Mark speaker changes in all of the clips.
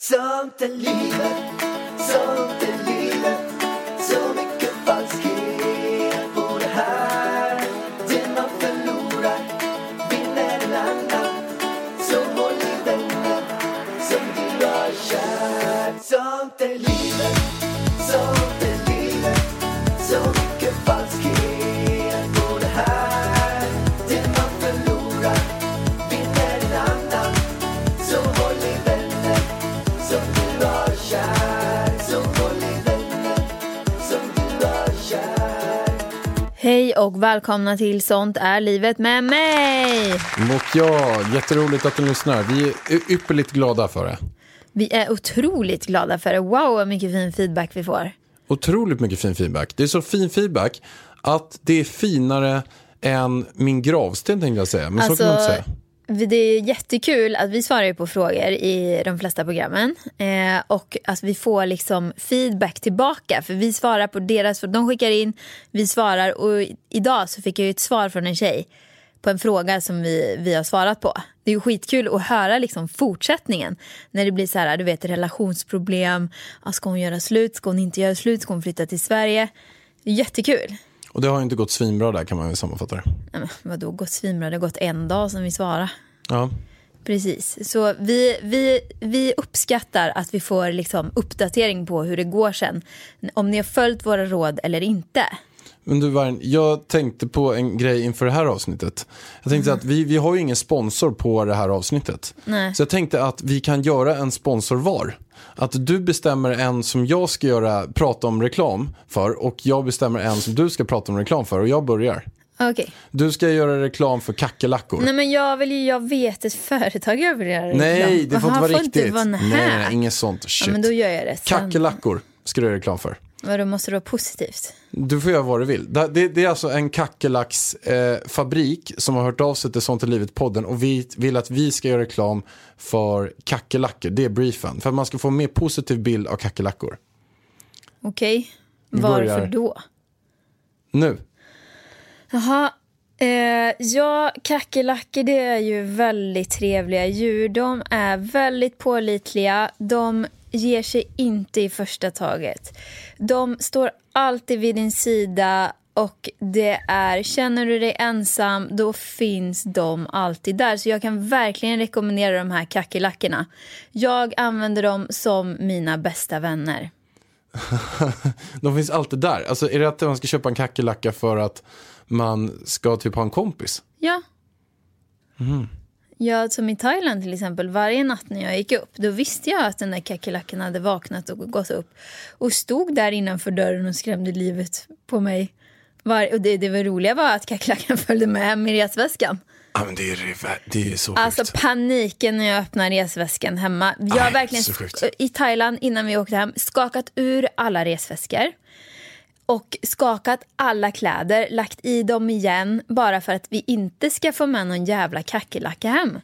Speaker 1: Sånt är livet, sånt är livet Så mycket falskhet på det här Det man förlorar vinner en annan Så håll i vännen som du har kär Sånt är livet, sånt är livet Så mycket falskhet på det här Det man förlorar vinner en annan Så håll i vännen som du har kär Så håll i vännen som du har kär
Speaker 2: Hej och välkomna till Sånt är livet med mig!
Speaker 3: Och ja, jätteroligt att du lyssnar. Vi är y- ypperligt glada för det.
Speaker 2: Vi är otroligt glada för det. Wow, vad mycket fin feedback vi får.
Speaker 3: Otroligt mycket fin feedback. Det är så fin feedback att det är finare än min gravsten tänkte jag säga. Men så kan man inte säga.
Speaker 2: Alltså, vi- det är jättekul att vi svarar ju på frågor i de flesta programmen. Eh, och att vi får liksom feedback tillbaka. För vi svarar på deras frågor. De skickar in, vi svarar. Och i- idag så fick jag ju ett svar från en tjej på en fråga som vi, vi har svarat på. Det är ju skitkul att höra liksom fortsättningen. När det blir så här, du vet relationsproblem. Ja, Ska hon göra slut? Ska hon inte göra slut? Ska hon flytta till Sverige? Jättekul.
Speaker 3: Och det har ju inte gått svinbra där kan man väl sammanfatta det.
Speaker 2: Nej, men vadå, gått svinbra? Det har gått en dag sedan vi svarade.
Speaker 3: Ja.
Speaker 2: Precis, så vi, vi, vi uppskattar att vi får liksom uppdatering på hur det går sen. Om ni har följt våra råd eller inte.
Speaker 3: Men du Varn, jag tänkte på en grej inför det här avsnittet. Jag tänkte att vi, vi har ju ingen sponsor på det här avsnittet.
Speaker 2: Mhm. Nej.
Speaker 3: Så jag tänkte att vi kan göra en sponsor var. Att du bestämmer en som jag ska göra, prata om reklam för och jag bestämmer en som du ska prata om reklam för och jag börjar.
Speaker 2: Okej.
Speaker 3: Du ska göra reklam för kackerlackor.
Speaker 2: Nej men jag vill ju, jag vet ett företag jag vill göra
Speaker 3: Nej, det får inte vara riktigt.
Speaker 2: Inte vara
Speaker 3: nej, nej, nej, inget sånt
Speaker 2: ja,
Speaker 3: shit.
Speaker 2: men då gör jag det sen.
Speaker 3: Kackerlackor ska du göra reklam för.
Speaker 2: Vadå, måste det vara positivt?
Speaker 3: Du får göra vad du vill. Det, det, det är alltså en kackerlacksfabrik eh, fabrik som har hört av sig till Sånt är livet-podden och vi vill att vi ska göra reklam för kackerlackor. Det är briefen. För att man ska få en mer positiv bild av kackerlackor.
Speaker 2: Okej,
Speaker 3: börjar.
Speaker 2: varför då?
Speaker 3: Nu.
Speaker 2: Jaha. Eh, ja, kackerlackor det är ju väldigt trevliga djur. De är väldigt pålitliga. De ger sig inte i första taget. De står alltid vid din sida och det är, känner du dig ensam, då finns de alltid där. Så jag kan verkligen rekommendera de här kackerlackorna. Jag använder dem som mina bästa vänner.
Speaker 3: De finns alltid där. Alltså är det att man ska köpa en kackerlacka för att man ska typ ha en kompis?
Speaker 2: Ja. Ja, som i Thailand till exempel. Varje natt när jag gick upp, då visste jag att den där kackerlackan hade vaknat och gått upp. Och stod där innanför dörren och skrämde livet på mig. Var, och det, det var roliga var att kackerlackan följde med hem i resväskan.
Speaker 3: Ja men det är, det är så
Speaker 2: Alltså paniken när jag öppnar resväskan hemma. Jag har
Speaker 3: Nej,
Speaker 2: verkligen
Speaker 3: så sjukt.
Speaker 2: i Thailand innan vi åkte hem skakat ur alla resväskor. Och skakat alla kläder, lagt i dem igen bara för att vi inte ska få med någon jävla kackerlacka hem.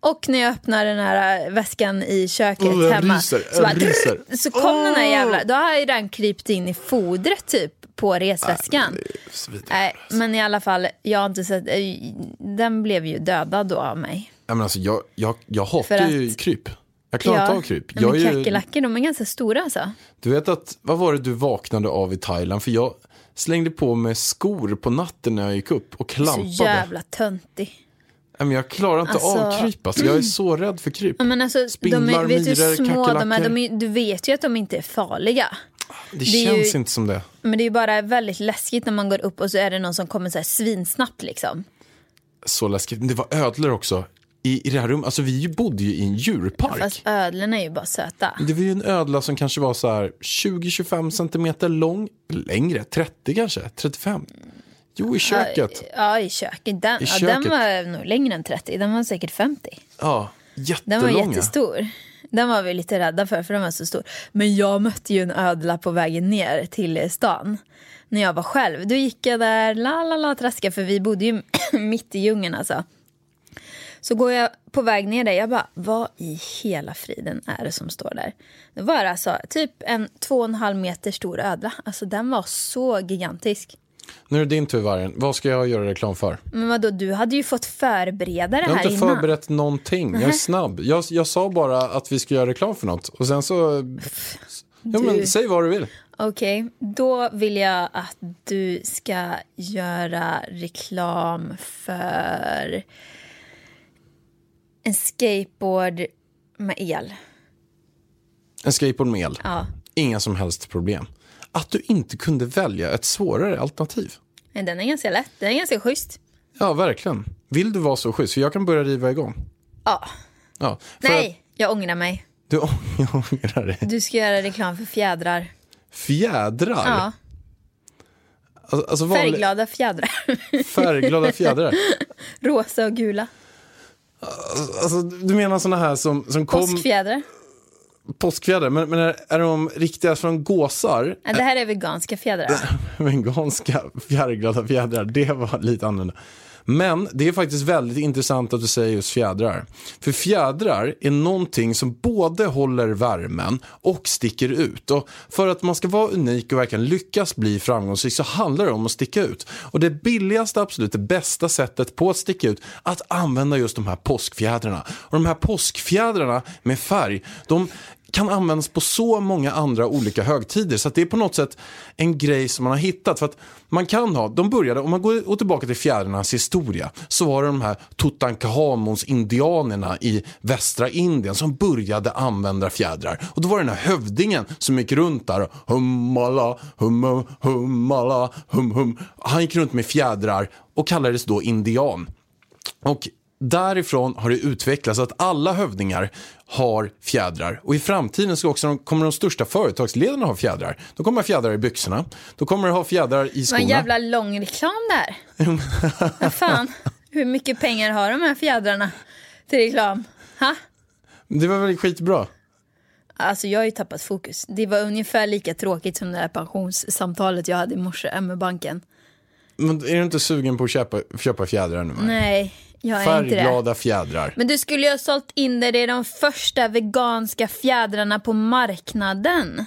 Speaker 2: Och när jag öppnar den här äh, väskan i köket
Speaker 3: Åh, jag
Speaker 2: hemma
Speaker 3: ryser,
Speaker 2: så,
Speaker 3: jag ryser.
Speaker 2: så kom den här jävla, då har jag ju den krypt in i fodret typ på resväskan. Nej, men i alla fall, jag har inte sett, eh, den blev ju dödad då av mig.
Speaker 3: Ja, men alltså, jag, jag, jag hatar
Speaker 2: För att-
Speaker 3: ju kryp. Jag klarar inte av kryp.
Speaker 2: Nej,
Speaker 3: Jag
Speaker 2: men
Speaker 3: är ju,
Speaker 2: kackerlackor, de är ganska stora alltså.
Speaker 3: du vet att, vad var det du vaknade av i Thailand? För jag slängde på mig skor på natten när jag gick upp och
Speaker 2: Så
Speaker 3: klampade.
Speaker 2: jävla töntig.
Speaker 3: Nej, men jag klarar inte av
Speaker 2: Alltså-
Speaker 3: kryp. Alltså, jag är så rädd för kryp.
Speaker 2: Ja, Men alltså, de
Speaker 3: Spindlar,
Speaker 2: är, vet du hur
Speaker 3: myror,
Speaker 2: små de är?
Speaker 3: kackerlackor.
Speaker 2: De är? Du vet ju att de inte är farliga. är
Speaker 3: det,
Speaker 2: ju-
Speaker 3: känns inte som det.
Speaker 2: Men det är ju bara väldigt läskigt när man går upp och så är det någon som kommer så här svinsnabbt liksom.
Speaker 3: Så läskigt. Men det var ödlor också. I, I det här rummet, alltså vi bodde ju i en djurpark.
Speaker 2: Fast ödlorna är ju bara söta.
Speaker 3: Det var ju en ödla som kanske var så här 20-25 centimeter lång. Längre, 30 kanske, 35. Jo, i köket.
Speaker 2: Ja, i köket. Den,
Speaker 3: I
Speaker 2: Ja, den
Speaker 3: köket.
Speaker 2: var nog längre än 30, den var säkert 50.
Speaker 3: Ja,
Speaker 2: Den
Speaker 3: jättelånga.
Speaker 2: var jättestor. Den var vi lite rädda för, för den var så stor. Men jag mötte ju en ödla på vägen ner till eh, stan. När jag var själv. Då gick jag där, la la la, traska, för vi bodde ju mitt i djungeln alltså. Så går jag på väg ner där, jag bara, vad i hela friden är det som står där? Det var alltså typ en två och en halv meter stor ödla. Alltså den var så gigantisk.
Speaker 3: Nu är det din tur vargen. Vad ska jag göra reklam för?
Speaker 2: Men vadå, du hade ju fått förbereda det
Speaker 3: Jag har
Speaker 2: här
Speaker 3: inte
Speaker 2: innan.
Speaker 3: förberett någonting. Jag är snabb. Jag, jag sa bara att vi ska göra reklam för något. Och sen så... Ja, men,
Speaker 2: Du.
Speaker 3: säg vad du vill.
Speaker 2: Okej, då vill jag att du ska göra reklam för en skateboard med el.
Speaker 3: En skateboard med el.
Speaker 2: Ja,
Speaker 3: Inga som helst problem. Att du inte kunde välja ett svårare alternativ.
Speaker 2: men den är ganska lätt. Den är ganska schysst.
Speaker 3: Ja, verkligen. Vill du vara så schysst? För jag kan börja riva igång.
Speaker 2: Ja.
Speaker 3: Ja, för Att
Speaker 2: Nej, jag ångrar mig.
Speaker 3: du jag ångrar dig.
Speaker 2: Du ska göra reklam för fjädrar.
Speaker 3: Fjädrar.
Speaker 2: Ja,
Speaker 3: Alltså, alltså vanlig-
Speaker 2: färgglada fjädrar.
Speaker 3: färgglada fjädrar.
Speaker 2: Rosa och gula.
Speaker 3: Alltså, du menar såna här som, som kom...
Speaker 2: Påskfjädrar.
Speaker 3: Påskfjädrar. Men, men är, är de riktiga från gåsar?
Speaker 2: Ja, det här är veganska fjädrar.
Speaker 3: Veganska fjärrglada fjädrar, det var lite annorlunda. Men det är faktiskt väldigt intressant att du säger just fjädrar. För fjädrar är någonting som både håller värmen och sticker ut. Och för att man ska vara unik och verkligen lyckas bli framgångsrik så handlar det om att sticka ut. Och det billigaste, absolut det bästa sättet på att sticka ut, att använda just de här påskfjädrarna. Och de här påskfjädrarna med färg, de kan användas på så många andra olika högtider. Så att det är på något sätt en grej som man har hittat. För att man kan ha, de började, om man går tillbaka till fjärilarnas historia, så var det de här Tutankhamons indianerna i västra Indien som började använda fjädrar. Och då var det den här hövdingen som gick runt där och hummala, hum, hum, hummala, hum, hum. Han gick runt med fjädrar och kallades då indian. Och därifrån har det utvecklats att alla hövdingar har fjädrar. Och i framtiden ska också de, kommer de största företagsledarna ha fjädrar. Då kommer fjädrar i byxorna. Då kommer de ha fjädrar i
Speaker 2: Det var en
Speaker 3: skorna.
Speaker 2: jävla lång reklam där. Vad fan, hur mycket pengar har de här fjädrarna till reklam? Ha?
Speaker 3: Det var väl skitbra?
Speaker 2: Alltså jag har ju tappat fokus. Det var ungefär lika tråkigt som det här pensionssamtalet jag hade i morse eh, med banken.
Speaker 3: Men är du inte sugen på att köpa, köpa fjädrar nu? Maja?
Speaker 2: Nej, jag är inte det.
Speaker 3: Färgglada fjädrar.
Speaker 2: Men du skulle ju ha sålt in dig i de första veganska fjädrarna på marknaden.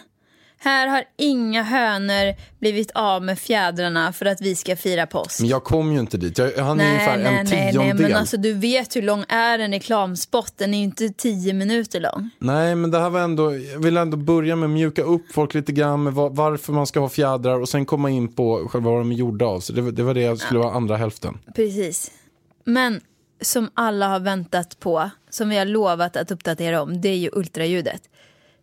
Speaker 2: Här har inga hönor blivit av med fjädrarna för att vi ska fira påsk.
Speaker 3: Men jag kom ju inte dit. Jag, han är ungefär en tiondel.
Speaker 2: nej, men alltså du vet hur lång är en reklamspot? Den är ju inte tio minuter lång.
Speaker 3: Nej, men det här var ändå, jag vill ändå börja med att mjuka upp folk lite grann med va- varför man ska ha fjädrar och sen komma in på själva vad de är gjorda av. Så det, var- det var det jag skulle vara andra hälften.
Speaker 2: Precis. Men som alla har väntat på, som vi har lovat att uppdatera om, det är ju ultraljudet.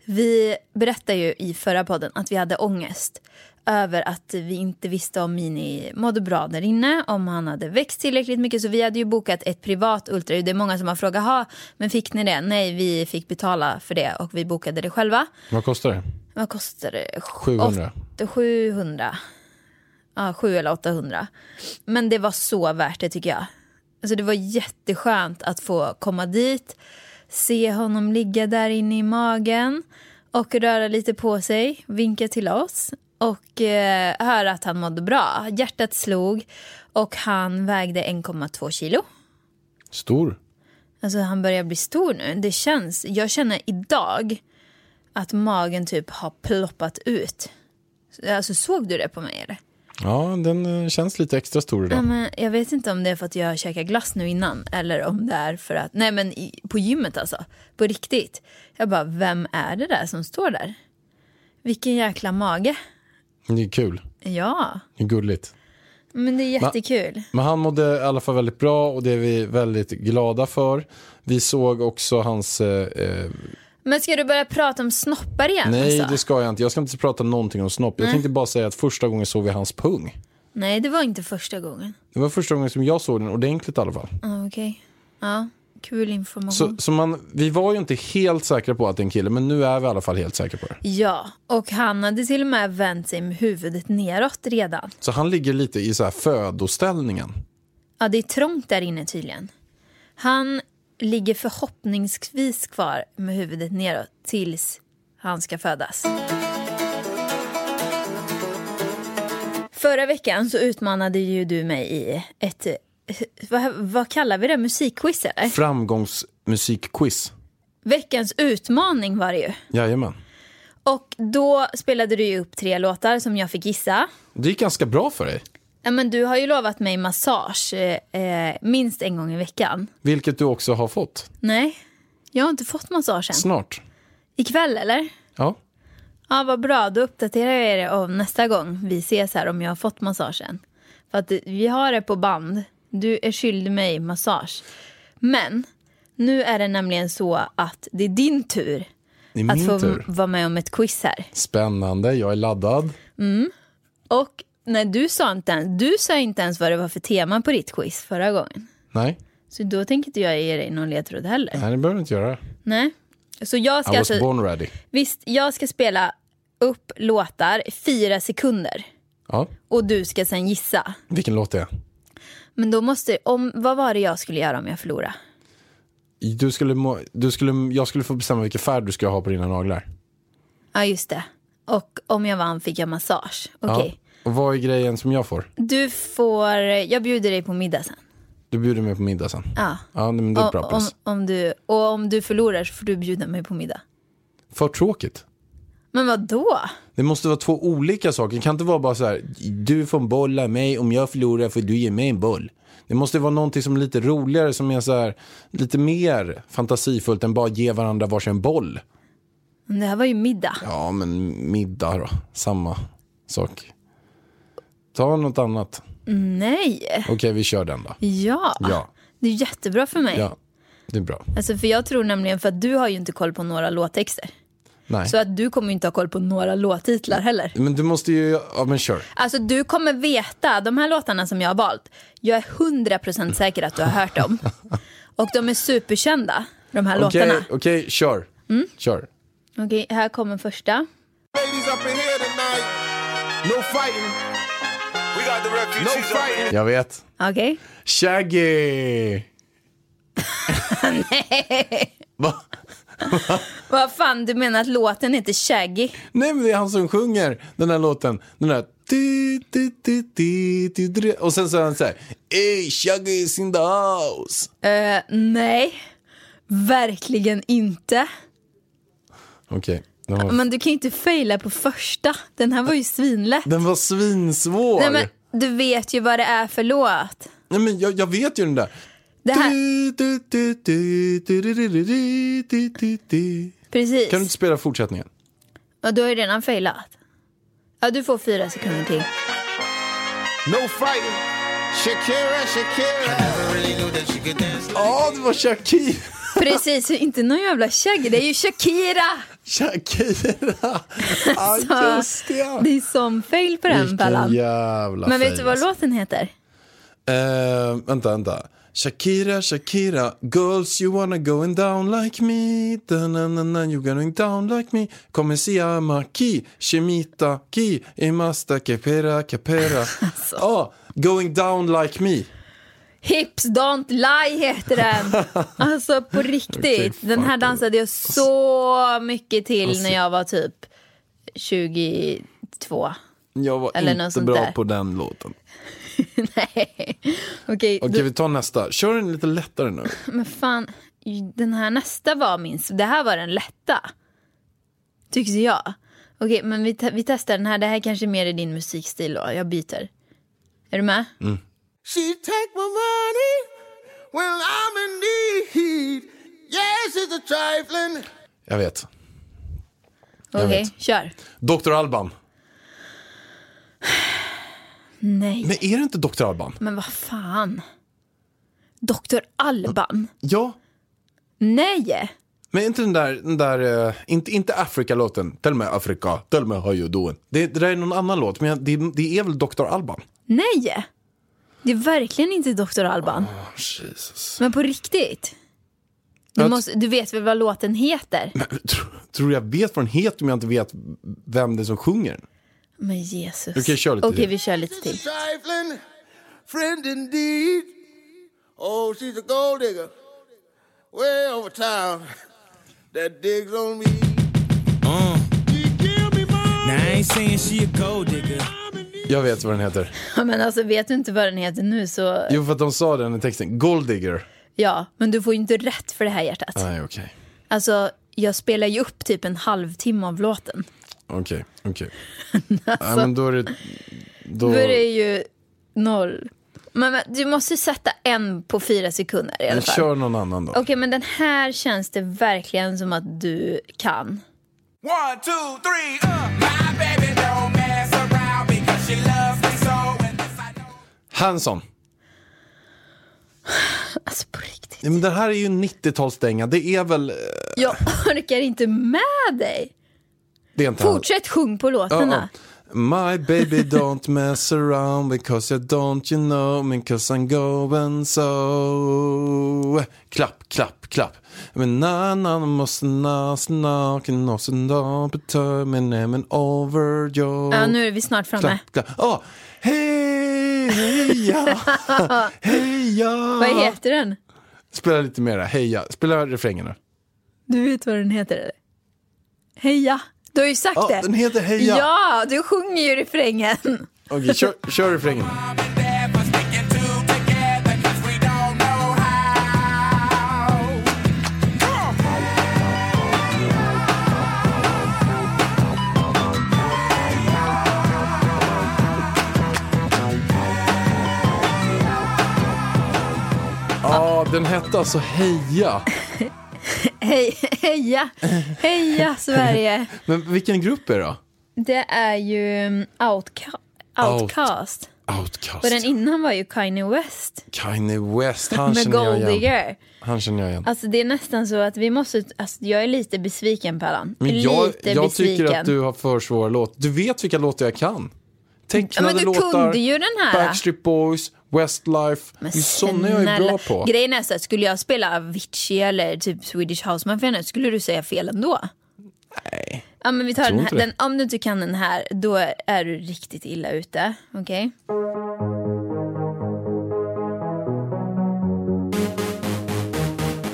Speaker 2: Vi berättade ju i förra podden att vi hade ångest över att vi inte visste om Mini mådde bra där inne, om han hade växt tillräckligt mycket. Så vi hade ju bokat ett privat ultraljud. Det är många som har frågat, ha, men fick ni det? Nej, vi fick betala för det och vi bokade det själva.
Speaker 3: Vad kostar det?
Speaker 2: Vad kostar det?
Speaker 3: 700.
Speaker 2: Åt- 700. Ja, 7 eller 800. Men det var så värt det tycker jag. Alltså det var jätteskönt att få komma dit, se honom ligga där inne i magen och röra lite på sig, vinka till oss och eh, höra att han mådde bra. Hjärtat slog och han vägde 1,2 kilo.
Speaker 3: Stor.
Speaker 2: Alltså han börjar bli stor nu. Det känns, jag känner idag att magen typ har ploppat ut. Alltså såg du det på mig eller?
Speaker 3: Ja, den eh, känns lite extra stor idag.
Speaker 2: Ja, men jag vet inte om det är för att jag käkar glass nu innan eller om det är för att, nej men i, på gymmet alltså, på riktigt. Jag bara, vem är det där som står där? Vilken jäkla mage.
Speaker 3: Det är kul.
Speaker 2: Ja,
Speaker 3: Det är gulligt.
Speaker 2: men det är jättekul.
Speaker 3: Men han mådde i alla fall väldigt bra och det är vi väldigt glada för. Vi såg också hans... Eh, eh,
Speaker 2: Men ska du börja prata om snoppar igen?
Speaker 3: nej,
Speaker 2: alltså?
Speaker 3: det ska jag inte. Jag ska inte prata någonting om snopp. Jag tänkte bara säga att första gången såg vi hans pung.
Speaker 2: nej, det var inte första gången.
Speaker 3: Det var första gången som jag såg den ordentligt i alla fall.
Speaker 2: Ah, Okej. Ja, kul information.
Speaker 3: Så, så man, vi var ju inte helt säkra på att det är en kille, men nu är vi i alla fall helt säkra på det.
Speaker 2: Ja, och han hade till och med vänt sig med huvudet neråt redan.
Speaker 3: Så han ligger lite i så här födoställningen.
Speaker 2: Ja, det är trångt där inne tydligen. Han ligger förhoppningsvis kvar med huvudet neråt tills han ska födas. Förra veckan så utmanade ju du mig i ett, vad, vad kallar vi det, musikquiz eller?
Speaker 3: Framgångsmusikquiz.
Speaker 2: Veckans utmaning var det ju.
Speaker 3: Jajamän.
Speaker 2: Och då spelade du ju upp tre låtar som jag fick gissa.
Speaker 3: Det gick ganska bra för dig.
Speaker 2: Ja, men du har ju lovat mig massage eh, minst en gång i veckan.
Speaker 3: Vilket du också har fått
Speaker 2: Nej, jag har inte fått massage än.
Speaker 3: snart.
Speaker 2: Ikväll eller?
Speaker 3: Ja.
Speaker 2: Ja, vad bra. Då uppdaterar jag er om nästa gång vi ses här om jag har fått massagen. För att vi har det på band. Du är skyldig mig massage. Men nu är det nämligen så att det är din tur
Speaker 3: Det är
Speaker 2: att
Speaker 3: min
Speaker 2: få
Speaker 3: tur.
Speaker 2: vara med om ett quiz här.
Speaker 3: Spännande, jag är laddad.
Speaker 2: Och när du sa inte ens, du sa inte ens vad det var för tema på ditt quiz förra gången.
Speaker 3: Nej,
Speaker 2: Så då tänker inte jag ge dig någon ledtråd heller.
Speaker 3: nej det behöver du inte göra.
Speaker 2: Nej. Så jag
Speaker 3: I
Speaker 2: ska
Speaker 3: was
Speaker 2: alltså,
Speaker 3: born ready.
Speaker 2: visst, jag ska spela upp låtar i fyra sekunder.
Speaker 3: Ja.
Speaker 2: Och du ska sen gissa.
Speaker 3: Vilken låt det är?
Speaker 2: Men då måste, om, vad var det jag skulle göra om jag förlorade?
Speaker 3: Du skulle, må- du skulle, jag skulle få bestämma vilken färg du skulle ha på dina naglar.
Speaker 2: Ja, just det. Och om jag vann fick jag massage. Okej.
Speaker 3: Ja. Och vad är grejen som jag får?
Speaker 2: Du får, jag bjuder dig på middag sen.
Speaker 3: Du bjuder mig på middag sen.
Speaker 2: Ja.
Speaker 3: Ja, men det är ett bra
Speaker 2: Och- om,
Speaker 3: pris.
Speaker 2: om du, och om du förlorar så får du bjuda mig på middag.
Speaker 3: För tråkigt.
Speaker 2: Men vad då?
Speaker 3: Det måste vara två olika saker. Det kan inte vara bara så här, du får en boll av mig, om jag förlorar får du ge mig en boll. Det måste vara någonting som är lite roligare, som är så här, lite mer fantasifullt än bara ge varandra varsin boll.
Speaker 2: Men Det här var ju middag.
Speaker 3: Ja, men middag då, samma sak. Ta något annat.
Speaker 2: Nej.
Speaker 3: Okej, vi kör den då.
Speaker 2: Ja.
Speaker 3: Ja.
Speaker 2: Det är jättebra för mig.
Speaker 3: Ja, det är bra.
Speaker 2: Alltså för jag tror nämligen för att du har ju inte koll på några låttexter.
Speaker 3: Nej.
Speaker 2: Så att du kommer ju inte ha koll på några låttitlar heller.
Speaker 3: Men du måste ju, ja men kör.
Speaker 2: Alltså du kommer veta, de här låtarna som jag har valt, jag är 100% säker att du har hört dem. Och de är superkända, de här
Speaker 3: Okej,
Speaker 2: låtarna. Mm.
Speaker 3: okej, kör. Kör.
Speaker 2: Okej, här kommer första.
Speaker 4: Ladies up in here tonight.
Speaker 3: No fighting,
Speaker 4: We got the
Speaker 3: no
Speaker 4: refugees up in
Speaker 3: fighting. Jag vet.
Speaker 2: Okej.
Speaker 3: Shaggy! Va?
Speaker 2: Vad fan, du menar att låten heter Shaggy?
Speaker 3: Nej men det är han som sjunger den här låten. Den där... Ti, ti, ti, ti, ti, ti. Och sen så är han så här... Ey, Shaggy's in the house!
Speaker 2: Eh, nej, verkligen inte.
Speaker 3: Okej, den, var,
Speaker 2: Men du kan ju inte faila på första. Den här var ju svinlätt.
Speaker 3: den var svinsvår.
Speaker 2: Nej, men du vet ju vad det är för låt.
Speaker 3: jag, jag vet ju den där.
Speaker 2: Det här,
Speaker 3: Ti, ti, ti, ti, ti, ti, ti, ti, ti, ti, ti.
Speaker 2: precis.
Speaker 3: Kan du inte spela fortsättningen?
Speaker 2: Ja, du har ju redan failat. Ja, du får fyra sekunder till.
Speaker 3: No fighting!
Speaker 4: Shakira, Shakira.
Speaker 3: Ja, det var Shakira!
Speaker 2: Precis, inte någon jävla Shaggy. Det är ju Shakira!
Speaker 3: Shakira! Ja,
Speaker 2: Så
Speaker 3: just det.
Speaker 2: Det är som fail på den
Speaker 3: Vilken
Speaker 2: Pallan.
Speaker 3: jävla
Speaker 2: Men vet
Speaker 3: fail,
Speaker 2: du vad
Speaker 3: alltså.
Speaker 2: låten heter?
Speaker 3: Eh, vänta, vänta. Shakira, Shakira, girls you wanna going down like me da, na, na, na, You going down like me Come siama ki, shemita ki Imasta kepera, kepera
Speaker 2: Alltså.
Speaker 3: Ja, Going down like me
Speaker 2: Hips Don't Lie heter den. Alltså på riktigt.
Speaker 3: Okej,
Speaker 2: den här
Speaker 3: fuck.
Speaker 2: dansade jag så mycket till när jag var typ 22.
Speaker 3: Jag var
Speaker 2: Eller något
Speaker 3: inte
Speaker 2: sånt
Speaker 3: bra
Speaker 2: där.
Speaker 3: på den låten
Speaker 2: Nej. Okej,
Speaker 3: Okej,
Speaker 2: då-
Speaker 3: vi tar nästa. Kör den lite lättare nu.
Speaker 2: men fan. Den här nästa var min. Det här var den lätta. Tyckte jag. Okej, men vi, te- vi testar den här. Det här kanske är mer i din musikstil då. Jag byter. Är du med?
Speaker 3: Mm,
Speaker 4: She take my money when I'm in need. Yes, it's a trifling.
Speaker 3: Jag vet.
Speaker 2: Okej,
Speaker 3: vet.
Speaker 2: kör.
Speaker 3: Dr. Alban.
Speaker 2: Nej,
Speaker 3: Men är det inte Dr. Alban?
Speaker 2: men vad fan. Dr. Alban?
Speaker 3: Ja.
Speaker 2: Nej!
Speaker 3: Men är inte den där, den där eh, inte, inte Afrika-låten. Tell me Africa, tell me how you doing. Det, det där är någon annan låt, men jag- det, det är väl Dr. Alban?
Speaker 2: Nej! Det är verkligen inte Dr. Alban.
Speaker 3: Jesus.
Speaker 2: Men på riktigt. Du,
Speaker 3: Jag-
Speaker 2: måste, du vet väl vad låten heter?
Speaker 3: Men, tro, tror du jag vet vad den heter om jag inte vet vem det är som sjunger den?
Speaker 2: Men Jesus.
Speaker 3: Okej, kör lite
Speaker 2: Okej,
Speaker 3: till.
Speaker 2: vi kör lite till.
Speaker 4: It's a trifling friend indeed. Oh, she's a gold digger. Way over town that digs on me.
Speaker 5: Uh,
Speaker 4: She give me money.
Speaker 5: now I ain't saying she a gold digger.
Speaker 3: Jag vet vad den heter.
Speaker 2: Ja, men alltså vet du inte vad den heter nu så
Speaker 3: Jo, för att de sa den i texten. Golddigger.
Speaker 2: ja. Men du får ju inte rätt för det här hjärtat.
Speaker 3: Nej, okej.
Speaker 2: Alltså, jag spelar ju upp typ en halvtimme av låten.
Speaker 3: Okej, okej. Nej, men då är det...
Speaker 2: Då
Speaker 3: Då...
Speaker 2: är det ju Noll. Men, men du måste sätta en på fyra sekunder i alla
Speaker 3: Men
Speaker 2: fall.
Speaker 3: kör någon annan då.
Speaker 2: Okej, men den här känns det verkligen som att du kan.
Speaker 6: One, two, three, uh. My baby don't mess around because she loves me so. And this I know.
Speaker 3: Hanson.
Speaker 2: Alltså på riktigt.
Speaker 3: Ja, men den här är ju 90-talsdänga. Det är väl... eh,
Speaker 2: Jag orkar inte med dig.
Speaker 3: Det är inte han.
Speaker 2: Fortsätt sjung på låtarna.
Speaker 3: My baby don't mess around because I don't you know me because I'm going so Klapp, klapp, klapp Men na na na, måste na snack and also da betör men nämen over yo
Speaker 2: Ja, nu är vi snart framme.
Speaker 3: Klapp, klapp, åh! hej, heja, heja
Speaker 2: Vad heter den?
Speaker 3: Spela lite mera, heja, spela refrängerna
Speaker 2: Du vet vad den heter eller? Heja. Du har ju sagt
Speaker 3: Ja,
Speaker 2: det.
Speaker 3: den heter Heja.
Speaker 2: Ja, du sjunger ju refrängen.
Speaker 3: Okej, kör, kör refrängen
Speaker 6: Mom and dad for sticking two together 'cause we don't know how.
Speaker 3: Ja, den hette alltså Heja
Speaker 2: Hej, heja. Heja Sverige.
Speaker 3: Men vilken grupp är det då?
Speaker 2: Det är ju um, outca- Outcast.
Speaker 3: Outcast
Speaker 2: Och den innan var ju Kanye West
Speaker 3: Kanye West, han
Speaker 2: med
Speaker 3: känner
Speaker 2: Gold
Speaker 3: jag igen.
Speaker 2: Digger.
Speaker 3: Han känner jag igen.
Speaker 2: Alltså det är nästan så att vi måste, alltså jag är lite besviken Pallan.
Speaker 3: Men jag
Speaker 2: lite
Speaker 3: jag
Speaker 2: besviken.
Speaker 3: tycker att du har för svåra låtar. Du vet vilka låtar jag kan.
Speaker 2: ja,
Speaker 3: Tecknade
Speaker 2: men du
Speaker 3: låtar,
Speaker 2: kunde ju den här.
Speaker 3: Backstreet Boys, Westlife. Det är sådana jag är bra på.
Speaker 2: Grejen är så att skulle jag spela Avicii eller typ Swedish House Mafia nu, skulle du säga fel ändå? Nej. Ja, men vi tar den
Speaker 3: tror
Speaker 2: här.
Speaker 3: inte det.
Speaker 2: Den, om du inte kan den här, då är du riktigt illa ute. Okej?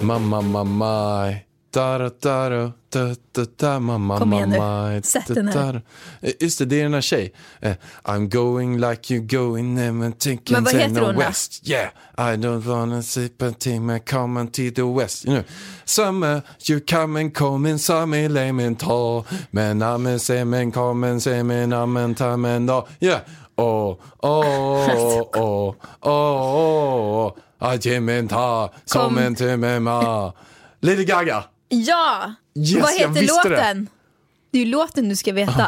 Speaker 3: Mamma, mamma, maj. Dara, dara, da, da, da, mamma,
Speaker 2: Kom igen nu.
Speaker 3: mamma, maj.
Speaker 2: Sätt den här.
Speaker 3: dara. Eh, Just det, det är den här tjej. Eh, I'm going like you going, never thinking
Speaker 2: Men vad
Speaker 3: to
Speaker 2: heter
Speaker 3: the
Speaker 2: hon då?
Speaker 3: west. Yeah, I don't wanna sleep until my coming to the west. You know. Summer, you come and come in summer, lame and tall. Men amen, semen, come semen, amen, tamen, da. Yeah. Oh, oh, oh, oh, oh, oh. Ajimenta,
Speaker 2: Kom.
Speaker 3: som en timme ma. Lady Gaga.
Speaker 2: Ja!
Speaker 3: Yes,
Speaker 2: Vad
Speaker 3: jag
Speaker 2: heter
Speaker 3: visste det.
Speaker 2: låten? Det. är ju låten du ska veta.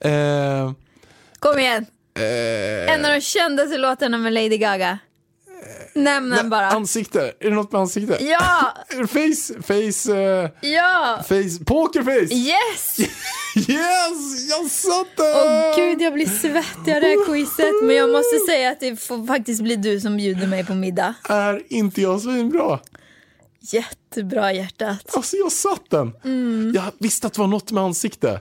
Speaker 3: Eh,
Speaker 2: Kom igen! en av de kändaste låtarna med Lady Gaga. Nämn den bara.
Speaker 3: ansikte. Är det något med ansikte?
Speaker 2: Ja!
Speaker 3: Face, face, eh,
Speaker 2: Ja!
Speaker 3: face, pokerface.
Speaker 2: Yes!
Speaker 3: Yes, jag satt den!
Speaker 2: Åh gud, jag blir svettig av det här quizet. Men jag måste säga att det får faktiskt bli du som bjuder mig på middag.
Speaker 3: Är inte jag svinbra?
Speaker 2: Jättebra hjärtat.
Speaker 3: Alltså jag satt den. Jag visste att det var något med ansikte.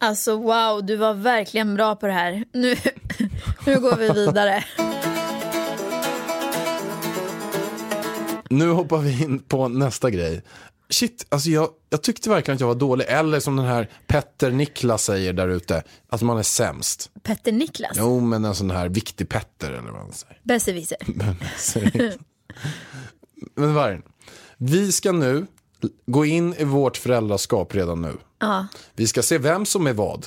Speaker 2: Alltså wow, du var verkligen bra på det här. Nu, nu går vi vidare.
Speaker 3: Nu hoppar vi in på nästa grej. Shit, alltså jag, jag tyckte verkligen att jag var dålig. Eller som den här Petter Niklas säger där ute, att man är sämst.
Speaker 2: Petter Niklas,
Speaker 3: Jo, men en sån här viktig Petter eller vad man säger.
Speaker 2: besserwisser.
Speaker 3: Säg. Men Vargen, vi ska nu gå in i vårt föräldraskap redan nu. Vi ska se vem som är vad,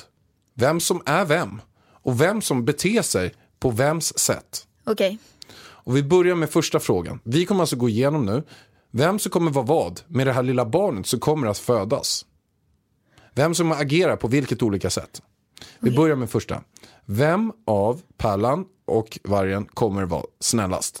Speaker 3: vem som är vem och vem som beter sig på vems sätt.
Speaker 2: Okej,
Speaker 3: Och vi börjar med första frågan. Vi kommer alltså gå igenom nu vem som kommer vara vad med det här lilla barnet som kommer att födas. Vem som agerar på vilket olika sätt. Vi börjar med första. Vem av Pärlan och Vargen kommer vara snällast?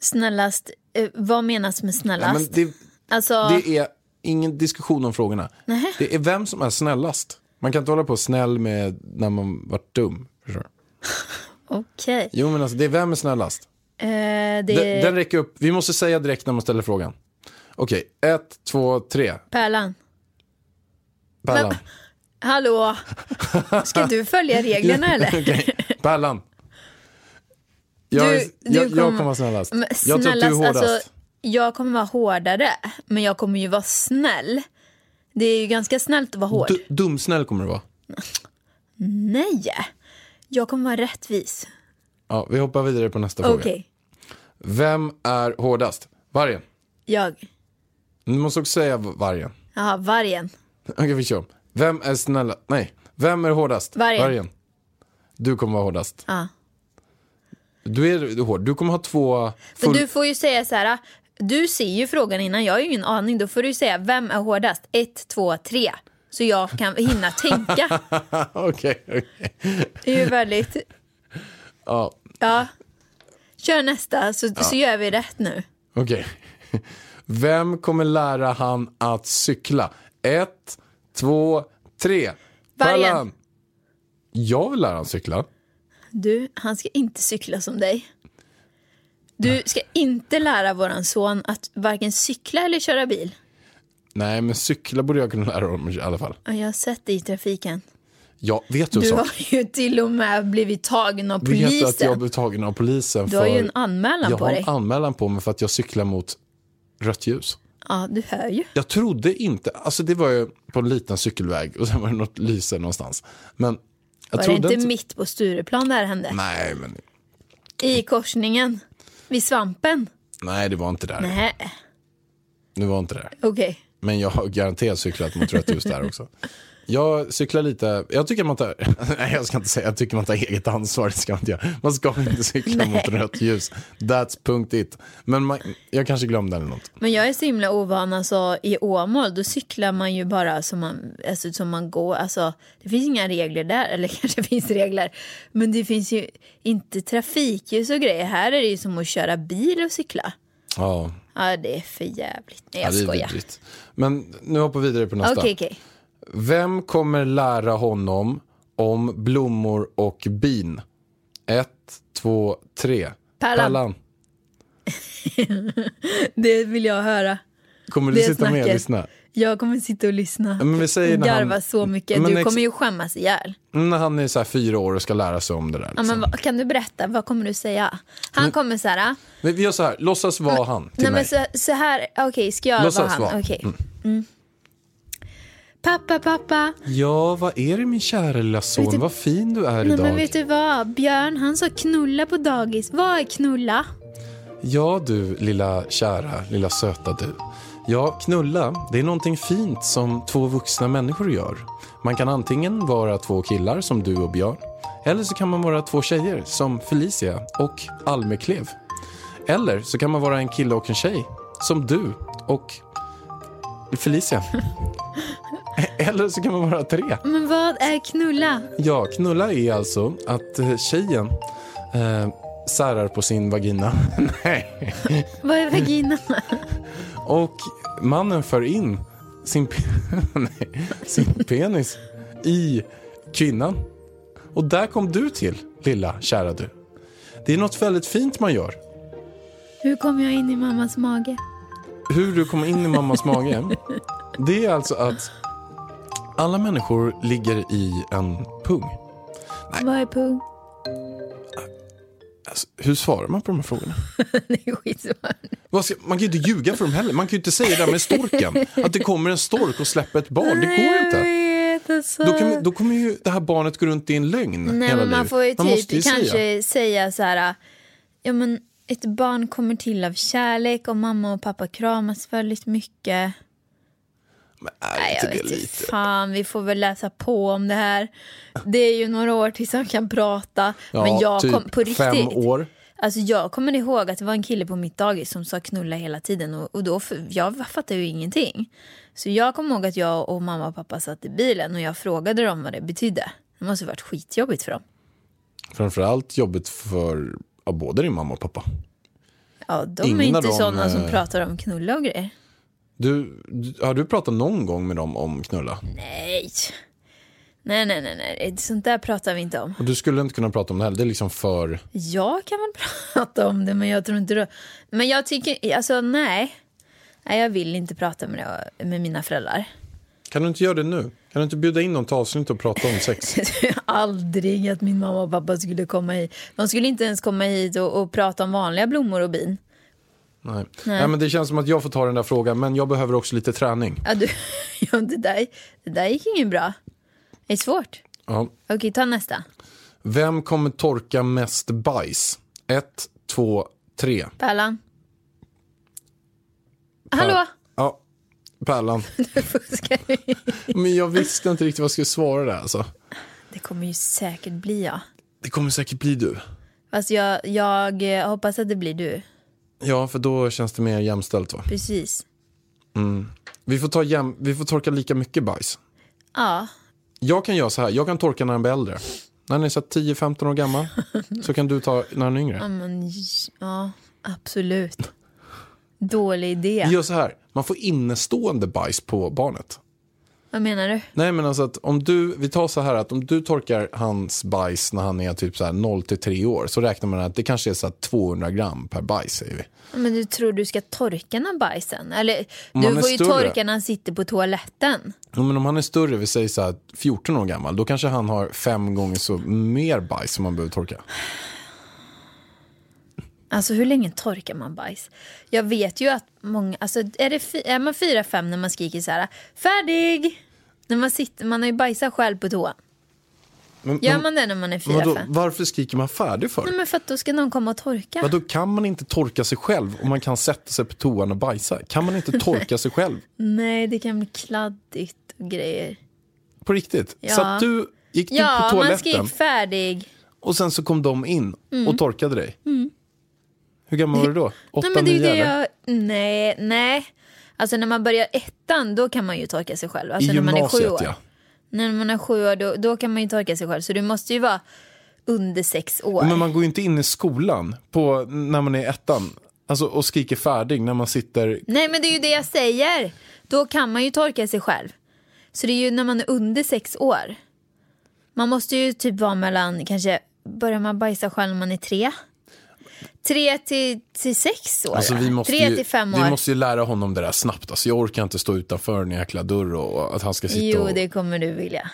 Speaker 2: snällast. Eh, vad menas med
Speaker 3: Ja, men
Speaker 2: snällast?
Speaker 3: det,
Speaker 2: Alltså,
Speaker 3: det är ingen diskussion om frågorna. Det är vem som är snällast. Man kan inte hålla på snäll med när man varit dum. förstår du?
Speaker 2: okej.
Speaker 3: Jo men alltså det är vem är snällast.
Speaker 2: Eh,
Speaker 3: Den,
Speaker 2: det är
Speaker 3: den räcker upp. Vi måste säga direkt när man ställer frågan. Okej, ett, två, tre.
Speaker 2: Pärlan.
Speaker 3: Pärlan.
Speaker 2: Hallå, ska du följa reglerna eller?
Speaker 3: Okej, Pärlan.
Speaker 2: Du-
Speaker 3: Jag, är-
Speaker 2: du
Speaker 3: jag, jag
Speaker 2: kom-
Speaker 3: kommer vara snällast.
Speaker 2: Men
Speaker 3: jag tror att du är
Speaker 2: snällast,
Speaker 3: hårdast.
Speaker 2: alltså, jag kommer vara hårdare, men jag kommer ju vara snäll. Det är ju ganska snällt att vara hård.
Speaker 3: Du, dumsnäll kommer du vara.
Speaker 2: Nej, jag kommer vara rättvis.
Speaker 3: Ja, vi hoppar vidare på nästa
Speaker 2: Okej,
Speaker 3: fråga. Vem är hårdast? Vargen.
Speaker 2: jag.
Speaker 3: Du måste också säga vargen.
Speaker 2: Jaha, vargen.
Speaker 3: Okej, vi kör. Vem är snälla? Nej. Vem är hårdast?
Speaker 2: Vargen.
Speaker 3: Du kommer vara hårdast.
Speaker 2: Ja.
Speaker 3: Du är du är hård. Du kommer ha två...
Speaker 2: För
Speaker 3: Full...
Speaker 2: du får ju säga så här, du ser ju frågan innan, jag har ju ingen aning. Då får du säga, vem är hårdast? Ett, två, tre. Så jag kan hinna tänka.
Speaker 3: Okej, okej.
Speaker 2: Det är ju väldigt...
Speaker 3: Ja,
Speaker 2: Ja. Kör nästa, så, så gör vi rätt nu.
Speaker 3: okej. Vem kommer lära han att cykla? Ett, två, tre.
Speaker 2: Vargen.
Speaker 3: Pallan. Jag vill lära han cykla.
Speaker 2: Du, han ska inte cykla som dig. Du ska inte lära våran son att varken cykla eller köra bil.
Speaker 3: Nej, men cykla borde jag kunna lära honom i alla fall.
Speaker 2: Ja, Jag har sett dig i trafiken.
Speaker 3: Ja, vet du, en
Speaker 2: Du
Speaker 3: sak?
Speaker 2: har ju till och med blivit tagen av
Speaker 3: Vet du att jag
Speaker 2: polisen.
Speaker 3: blev tagen av polisen
Speaker 2: Du
Speaker 3: för...
Speaker 2: har ju en anmälan
Speaker 3: jag
Speaker 2: på
Speaker 3: har
Speaker 2: dig.
Speaker 3: en anmälan på mig för att jag cyklar mot rött ljus.
Speaker 2: Ja, du hör ju.
Speaker 3: Jag trodde inte, alltså det var ju på en liten cykelväg och sen var det något lyse någonstans. Men
Speaker 2: Var
Speaker 3: jag
Speaker 2: det
Speaker 3: trodde
Speaker 2: inte mitt på Stureplan det här hände?
Speaker 3: Nej, men
Speaker 2: I korsningen? Vid svampen?
Speaker 3: nej, det var inte där.
Speaker 2: Nej,
Speaker 3: Det var inte där.
Speaker 2: okej.
Speaker 3: Men jag har garanterat cyklat mot rött ljus där också. Jag cyklar lite, jag tycker man tar, nej jag ska inte säga, jag tycker man tar eget ansvar, det ska man inte göra. Man ska inte cykla
Speaker 2: Nej.
Speaker 3: mot rött ljus. That's punkt it. Men man, jag kanske glömde eller något.
Speaker 2: Men jag är så himla ovan. Alltså, I Åmål då cyklar man ju bara som man, alltså, som man går. Alltså, det finns inga regler där. Eller kanske finns regler. Men det finns ju inte trafikljus och grejer. Här är det ju som att köra bil och cykla.
Speaker 3: Ja,
Speaker 2: Ja, det är för jävligt. Nej,
Speaker 3: ja
Speaker 2: jag
Speaker 3: det är
Speaker 2: skojar.
Speaker 3: vidrigt. Men nu hoppar vi vidare på nästa.
Speaker 2: Okej, okej.
Speaker 3: Vem kommer lära honom om blommor och bin? Ett, två, tre.
Speaker 2: Pärlan. Det vill jag höra.
Speaker 3: Kommer du
Speaker 2: Det är
Speaker 3: sitta med och
Speaker 2: snacket.
Speaker 3: lyssna?
Speaker 2: Jag kommer sitta och lyssna.
Speaker 3: Men vi säger när han-
Speaker 2: Garva så mycket.
Speaker 3: Men
Speaker 2: Du
Speaker 3: ex-
Speaker 2: kommer ju skämmas ihjäl.
Speaker 3: När Mm, han är så här fyra år och ska lära sig om det där.
Speaker 2: Ja,
Speaker 3: Liksom.
Speaker 2: men, vad- kan du berätta? Vad kommer du säga? Han kommer så här...
Speaker 3: men... Vi gör så här, låtsas vara han till
Speaker 2: Mm. Nej,
Speaker 3: mig.
Speaker 2: men så, så här, okej, ska jag
Speaker 3: Låtsas
Speaker 2: vara han?
Speaker 3: vara.
Speaker 2: Okej. Mm. Pappa, pappa.
Speaker 3: Ja, vad är det min kära lilla son,
Speaker 2: Vet du-
Speaker 3: vad fin du är
Speaker 2: Nej,
Speaker 3: idag.
Speaker 2: men vet du vad? Björn, han sa knulla på dagis. Vad är knulla?
Speaker 3: Ja du, lilla kära, lilla söta du. Ja, knulla, det är någonting fint som två vuxna människor gör. Man kan antingen vara två killar som du och Björn, eller så kan man vara två tjejer som Felicia och Almeklev. Eller så kan man vara en kille och en tjej, som du och Felicia. Eller så kan man vara tre.
Speaker 2: Men vad är knulla?
Speaker 3: Ja, knulla är alltså att eh, tjejen eh, särar på sin vagina. Nej.
Speaker 2: Vad är vagina?
Speaker 3: Och mannen för in sin, pe- nej, sin penis i kvinnan. Och där kom du till, lilla kära du. Det är något väldigt fint man gör.
Speaker 2: Hur kom jag in i mammas mage?
Speaker 3: Hur du kom in i mammas mage, det är alltså att alla människor ligger i en pung.
Speaker 2: Vad är pung?
Speaker 3: Alltså, hur svarar man på de här frågorna?
Speaker 2: Det är skitsvårt.
Speaker 3: Vad ska- Man kan ju inte ljuga för dem heller. Man kan ju inte säga det där med storken. Att det kommer en stork och släpper ett barn. Det går
Speaker 2: Jag
Speaker 3: inte.
Speaker 2: vet, alltså.
Speaker 3: Då, kan, vi- då kommer ju det här barnet gå runt i en lögn
Speaker 2: Nej,
Speaker 3: hela
Speaker 2: men man
Speaker 3: livet.
Speaker 2: får ju typ
Speaker 3: måste ju
Speaker 2: kanske
Speaker 3: säga.
Speaker 2: säga, så här... Ja, men ett barn kommer till av kärlek och mamma och pappa kramas väldigt mycket.
Speaker 3: Men är
Speaker 2: Nej, jag
Speaker 3: inte det
Speaker 2: vet inte.
Speaker 3: lite?
Speaker 2: Fan, vi får väl läsa på om det här. Det är ju några år tills han kan prata. men jag
Speaker 3: typ
Speaker 2: kom på riktigt.
Speaker 3: fem år.
Speaker 2: Alltså jag kommer ihåg att det var en kille på mitt dagis som sa knulla hela tiden och, och då, f- jag fattade ju ingenting. Så jag kommer ihåg att jag och mamma och pappa satt i bilen och jag frågade dem vad det betydde. Det måste ha varit skitjobbigt för dem.
Speaker 3: Framförallt jobbigt för ja, både din mamma och pappa.
Speaker 2: Ja, de
Speaker 3: Ingen
Speaker 2: är
Speaker 3: av
Speaker 2: inte
Speaker 3: dem,
Speaker 2: sådana som
Speaker 3: eh,
Speaker 2: pratar om knulla och grejer.
Speaker 3: Du, du- har du pratat någon gång med dem om knulla?
Speaker 2: Nej. Nej, nej, nej, nej, sånt där pratar vi inte om.
Speaker 3: Och du skulle inte kunna prata om det heller. Det är liksom för...
Speaker 2: Jag kan väl prata om det, men jag tror inte det. Men jag tycker, alltså nej. Nej, jag vill inte prata med, det, med mina föräldrar.
Speaker 3: Kan du inte göra det nu? Kan du inte bjuda in dem till avsnitt och prata om sex?
Speaker 2: Jag tror aldrig att min mamma och pappa skulle komma hit. De skulle inte ens komma hit och, och prata om vanliga blommor och bin.
Speaker 3: Nej. Nej, men det känns som att jag får ta den där frågan, men jag behöver också lite träning.
Speaker 2: Ja, du, ja, det, där, det där gick inget bra. Det är svårt.
Speaker 3: Ja.
Speaker 2: Okej, ta nästa.
Speaker 3: Vem kommer torka mest bajs? Ett, två, tre.
Speaker 2: Pärlan. Hallå?
Speaker 3: Ja, Pärlan.
Speaker 2: Du fuskar ju.
Speaker 3: Men jag visste inte riktigt vad jag skulle svara där alltså.
Speaker 2: Det kommer ju säkert bli jag.
Speaker 3: Det kommer säkert bli du.
Speaker 2: Alltså jag, jag eh, hoppas att det blir du.
Speaker 3: Ja, för då känns det mer jämställt va?
Speaker 2: Precis.
Speaker 3: Vi får, ta jäm- vi får torka lika mycket bajs.
Speaker 2: Ja,
Speaker 3: Jag kan göra så här, jag kan torka när den blir äldre. När den är så här 10-15 år gammal så kan du ta när den är yngre.
Speaker 2: men j- ja, absolut. Dålig idé.
Speaker 3: Vi gör så här, man får innestående bajs på barnet.
Speaker 2: Vad menar du?
Speaker 3: Nej men alltså att om du, vi tar så här att om du torkar hans bajs när han är typ så här 0 till 3 år så räknar man att det kanske är så här 200 gram per bajs säger vi.
Speaker 2: Ja, Men du tror du ska torka när bajsen? Eller
Speaker 3: Om han
Speaker 2: du
Speaker 3: är
Speaker 2: får ju
Speaker 3: större.
Speaker 2: torka när han sitter på toaletten.
Speaker 3: Ja, men om han är större, vi säger så här 14 år gammal, då kanske han har fem gånger så mer bajs som man behöver torka.
Speaker 2: Alltså hur länge torkar man bajs? Jag vet ju att många, alltså är, det fy, är man fyra, fem när man skriker så här färdig? När man sitter, man har ju bajsat själv på toan.
Speaker 3: Men,
Speaker 2: Gör
Speaker 3: men-
Speaker 2: man det när man är fyra,
Speaker 3: vadå,
Speaker 2: fem?
Speaker 3: varför skriker man färdig för?
Speaker 2: Nej men för att då ska någon komma och torka.
Speaker 3: Vadå, kan man inte torka sig själv om man kan sätta sig på toan och bajsa? Kan man inte torka sig själv?
Speaker 2: Nej det kan bli kladdigt och grejer.
Speaker 3: På riktigt?
Speaker 2: Ja.
Speaker 3: Så att du gick du
Speaker 2: Ja,
Speaker 3: på
Speaker 2: man
Speaker 3: toaletten
Speaker 2: skrek färdig.
Speaker 3: och sen så kom de in och torkade dig? Hur gammal var du då? Åtta,
Speaker 2: Mm. Nej, men det är ju det
Speaker 3: nio eller?
Speaker 2: jag... Nej, nej. Alltså när man börjar ettan då kan man ju torka sig själv. Alltså
Speaker 3: I
Speaker 2: när man är sju
Speaker 3: gymnasiet
Speaker 2: år.
Speaker 3: ja.
Speaker 2: När man är sju år då, då kan man ju torka sig själv. Så du måste ju vara under sex år.
Speaker 3: Men man går ju inte in i skolan på, när man är ettan alltså, och skriker färdig när man sitter
Speaker 2: Nej men det är ju det jag säger. Då kan man ju torka sig själv. Så det är ju när man är under sex år. Man måste ju typ vara mellan, kanske börjar man bajsa själv när man är tre? Tre till, till sex år?
Speaker 3: Alltså,
Speaker 2: va?
Speaker 3: vi måste
Speaker 2: tre
Speaker 3: ju,
Speaker 2: till fem
Speaker 3: Vi
Speaker 2: år?
Speaker 3: måste ju lära honom det där snabbt. Alltså, jag orkar inte stå utanför en jäkla dörr och och att han ska sitta
Speaker 2: Jo
Speaker 3: och...
Speaker 2: det kommer du vilja.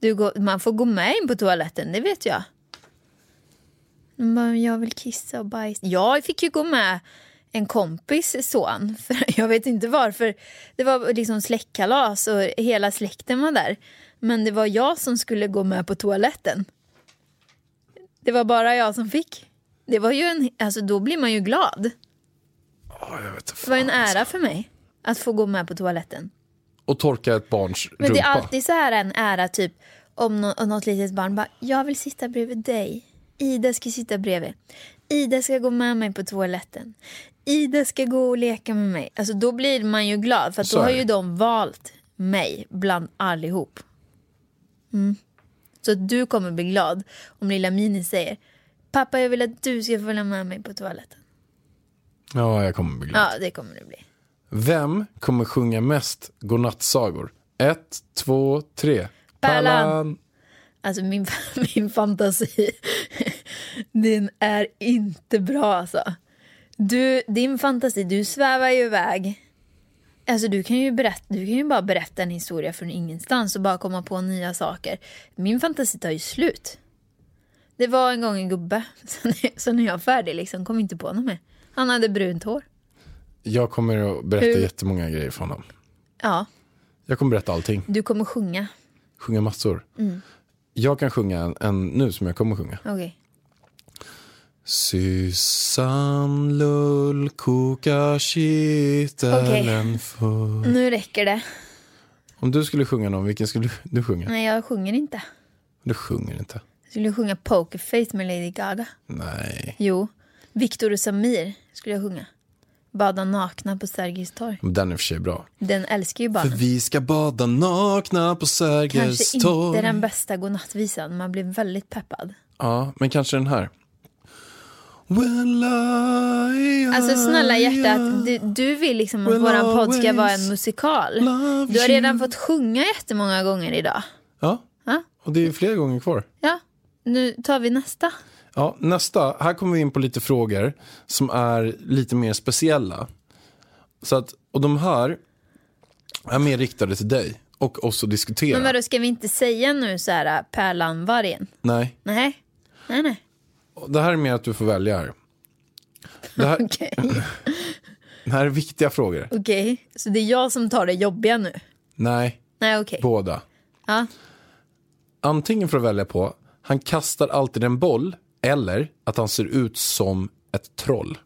Speaker 2: Du går, man får gå med in på toaletten, det vet jag. Men jag vill kissa och bajsa. Jag fick ju gå med en kompis son. För jag vet inte varför. Det var liksom släktkalas och hela släkten var där. Men det var jag som skulle gå med på toaletten. Det var bara jag som fick. Det var ju en, alltså då blir man ju glad.
Speaker 3: Ja, Ah, jag vet,
Speaker 2: Det var en
Speaker 3: fan, alltså.
Speaker 2: ära för mig att få gå med på toaletten.
Speaker 3: Och torka ett barns
Speaker 2: Men
Speaker 3: rumpa.
Speaker 2: det är alltid så här en ära, typ om nå- om något litet barn bara, jag vill sitta bredvid dig. Ida ska sitta bredvid. Ida ska gå med mig på toaletten. Ida ska gå och leka med mig. Alltså då blir man ju glad för att
Speaker 3: Så
Speaker 2: då har
Speaker 3: är det.
Speaker 2: ju de valt mig bland allihop. Mm. Så att du kommer bli glad om lilla Mini säger, pappa jag vill att du ska följa med mig på toaletten.
Speaker 3: Ja, jag kommer bli glad.
Speaker 2: Ja, det kommer det bli.
Speaker 3: Vem kommer sjunga mest godnattsagor? Ett, två, tre.
Speaker 2: Pärlan. Alltså min, min fantasi, den är inte bra alltså. Du, din fantasi, du svävar ju iväg. Alltså du kan ju, berätta, du kan ju bara berätta en historia från ingenstans och bara komma på nya saker. Min fantasi tar ju slut. Det var en gång en gubbe, sen är, sen är jag färdig liksom, kom inte på något mer. Han hade brunt hår.
Speaker 3: Jag kommer att berätta
Speaker 2: Hur-
Speaker 3: jättemånga grejer för honom.
Speaker 2: Ja,
Speaker 3: Jag kommer berätta allting.
Speaker 2: du kommer sjunga.
Speaker 3: Sjunga massor.
Speaker 2: Mm.
Speaker 3: Jag kan sjunga en, en nu som jag kommer sjunga.
Speaker 2: Okej.
Speaker 3: Syssan lull kokar kitteln full.
Speaker 2: Nu räcker det.
Speaker 3: Om du skulle sjunga någon, vilken skulle du- du sjunga?
Speaker 2: Nej, jag sjunger inte.
Speaker 3: Du sjunger inte.
Speaker 2: Jag skulle sjunga Pokerface med Lady Gaga.
Speaker 3: Nej.
Speaker 2: Jo. Viktor och Samir skulle jag sjunga. Bada nakna på Sergels torg.
Speaker 3: Men Den är i och för sig bra.
Speaker 2: Den älskar ju
Speaker 3: För
Speaker 2: barnen.
Speaker 3: vi ska bada nakna på Sergels
Speaker 2: Kanske inte
Speaker 3: torg.
Speaker 2: den bästa godnattvisan. Man blir väldigt peppad.
Speaker 3: Ja, men kanske den här. Well, I,
Speaker 2: Alltså snälla
Speaker 3: I-
Speaker 2: hjärtat, du, du vill liksom att
Speaker 3: Will
Speaker 2: våran podd ska
Speaker 3: always
Speaker 2: vara en musikal.
Speaker 3: love
Speaker 2: Du har redan
Speaker 3: you.
Speaker 2: fått sjunga jättemånga gånger idag.
Speaker 3: Ja,
Speaker 2: Ja,
Speaker 3: och det är fler gånger kvar.
Speaker 2: ja. nu tar vi nästa.
Speaker 3: Ja, nästa. Här kommer vi in på lite frågor som är lite mer speciella. Så att, och de här är mer riktade till dig och oss att diskutera.
Speaker 2: Men vadå, ska vi inte säga nu så här Pärlan vargen?
Speaker 3: Nej,
Speaker 2: Nej, nej, nej.
Speaker 3: det här är mer att du får välja här. Det här,
Speaker 2: Okej,
Speaker 3: det här är viktiga frågor.
Speaker 2: okej. Så det är jag som tar det jobbiga nu?
Speaker 3: Nej,
Speaker 2: Nej, okej.
Speaker 3: båda.
Speaker 2: Ja.
Speaker 3: Antingen får du välja på, han kastar alltid en boll eller att han ser ut som ett troll.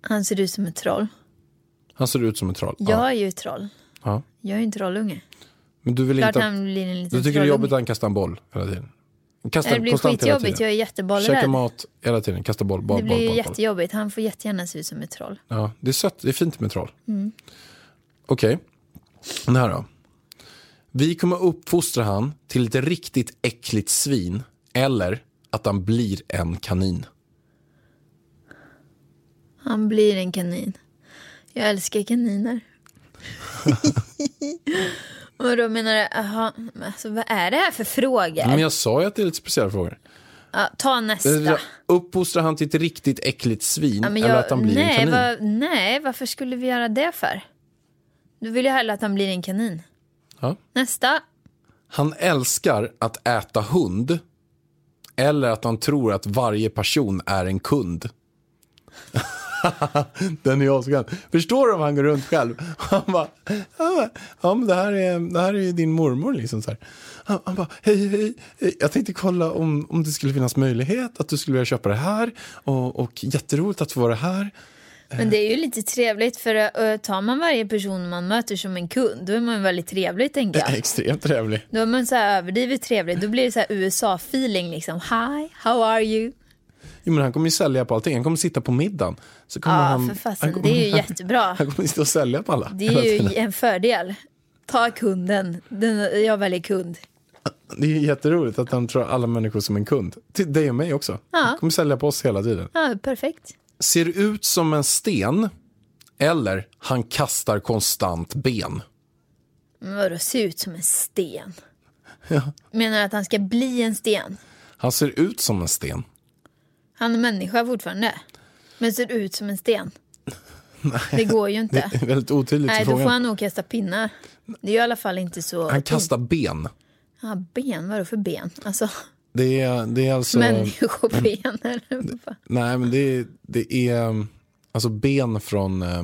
Speaker 2: Han ser ut som ett troll.
Speaker 3: Han ser ut som ett troll.
Speaker 2: Jag är ju ett troll.
Speaker 3: Ja.
Speaker 2: Jag är ju en trollunge.
Speaker 3: Men du vill
Speaker 2: Klart
Speaker 3: inte... att-
Speaker 2: han blir en liten
Speaker 3: Du tycker det är
Speaker 2: trollunge.
Speaker 3: jobbigt att han kastar en boll hela tiden? Kastar
Speaker 2: Nej, Det blir
Speaker 3: konstant hela
Speaker 2: skitjobbigt, jag
Speaker 3: tiden.
Speaker 2: är jättebollrädd.
Speaker 3: Käkar mat hela tiden, kastar boll, boll,
Speaker 2: Det blir
Speaker 3: boll,
Speaker 2: ju
Speaker 3: boll, boll.
Speaker 2: jättejobbigt. Han får jättegärna se ut som ett troll.
Speaker 3: Ja, det är sött, det är fint med troll.
Speaker 2: Mm.
Speaker 3: Okej, den här då. Vi kommer uppfostra han till ett riktigt äckligt svin eller att han blir en kanin.
Speaker 2: Han blir en kanin. Jag älskar kaniner. Vadå menar du? Aha, men alltså, vad är det här för frågor?
Speaker 3: Men jag sa ju att det är lite speciella frågor.
Speaker 2: Ja, ta nästa.
Speaker 3: Uppfostra han till ett riktigt äckligt svin
Speaker 2: Ja, men
Speaker 3: eller
Speaker 2: jag-
Speaker 3: att han blir en
Speaker 2: nej,
Speaker 3: kanin.
Speaker 2: vad- nej, varför skulle vi göra det för? Du vill ju hellre att han blir en kanin.
Speaker 3: Ja.
Speaker 2: Nästa.
Speaker 3: Han älskar att äta hund eller att han tror att varje person är en kund. Den är jag så gammal. Förstår du om han går runt själv? Han bara, han bara ja men det här är, det här är ju din mormor liksom så här. Han, han bara, hej, hej, hej, jag tänkte kolla om, om det skulle finnas möjlighet att du skulle vilja köpa det här och, och jätteroligt att få vara här.
Speaker 2: Men det är ju lite trevligt för eh, tar man varje person man möter som en kund då är man ju väldigt trevlig tänker jag.
Speaker 3: Extremt trevlig.
Speaker 2: Då är man så här överdrivet trevlig. Då blir det så här USA-feeling liksom. Hi, how are you?
Speaker 3: Jo, men han kommer ju sälja på allting, han kommer sitta på middagen. Så kommer
Speaker 2: Ja,
Speaker 3: han,
Speaker 2: för
Speaker 3: han
Speaker 2: fasen.
Speaker 3: kommer-
Speaker 2: Det är ju jättebra.
Speaker 3: Han kommer sitta och sälja på alla.
Speaker 2: Det
Speaker 3: hela
Speaker 2: är ju
Speaker 3: tiden.
Speaker 2: en fördel. Ta kunden. Den, jag väljer kund.
Speaker 3: det är ju jätteroligt att han tror alla människor som en kund. Till dig och mig också. Han kommer sälja på oss hela tiden.
Speaker 2: Ja, perfekt.
Speaker 3: Ser ut som en sten eller han kastar konstant ben.
Speaker 2: Men vadå, se ut som en sten? Menar du att han ska bli en sten?
Speaker 3: Han ser ut som en sten.
Speaker 2: Han är människa fortfarande. Men ser ut som en sten. Det går ju inte.
Speaker 3: Det är väldigt otydligt i
Speaker 2: Nej, då
Speaker 3: frågan.
Speaker 2: får han nog kasta pinnar. Det är ju i alla fall inte så...
Speaker 3: Han kastar ben.
Speaker 2: Ja, ben, vadå för ben? Alltså,
Speaker 3: Det är, det är alltså...
Speaker 2: människoben eller
Speaker 3: Mm.
Speaker 2: vad fan?
Speaker 3: Nej, men det är, det är um, alltså ben från, eh,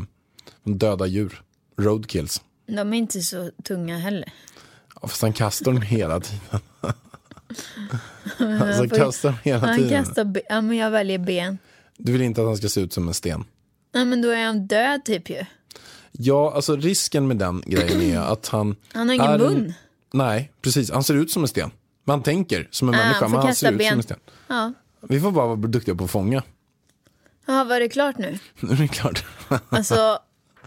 Speaker 3: från döda djur. Roadkills.
Speaker 2: De är inte så tunga heller.
Speaker 3: Ja, Fast han kastar dem hela tiden. alltså, han
Speaker 2: får ju-
Speaker 3: kastar dem hela
Speaker 2: Han
Speaker 3: tiden.
Speaker 2: kastar ben. Ja, men jag väljer ben.
Speaker 3: Du vill inte att han ska se ut som en sten.
Speaker 2: Nej, men då är han död typ ju.
Speaker 3: Ja, alltså risken med den grejen är att han...
Speaker 2: Han har ingen
Speaker 3: är en-
Speaker 2: mun.
Speaker 3: Nej, precis. Han ser ut som en sten. Men han tänker som en
Speaker 2: Ah,
Speaker 3: människa,
Speaker 2: han får
Speaker 3: men han
Speaker 2: kasta
Speaker 3: ser ut
Speaker 2: ben.
Speaker 3: som en sten.
Speaker 2: Ja.
Speaker 3: Vi får bara vara duktiga på att fånga.
Speaker 2: Ja, var det klart nu?
Speaker 3: Nu är det klart.
Speaker 2: Alltså,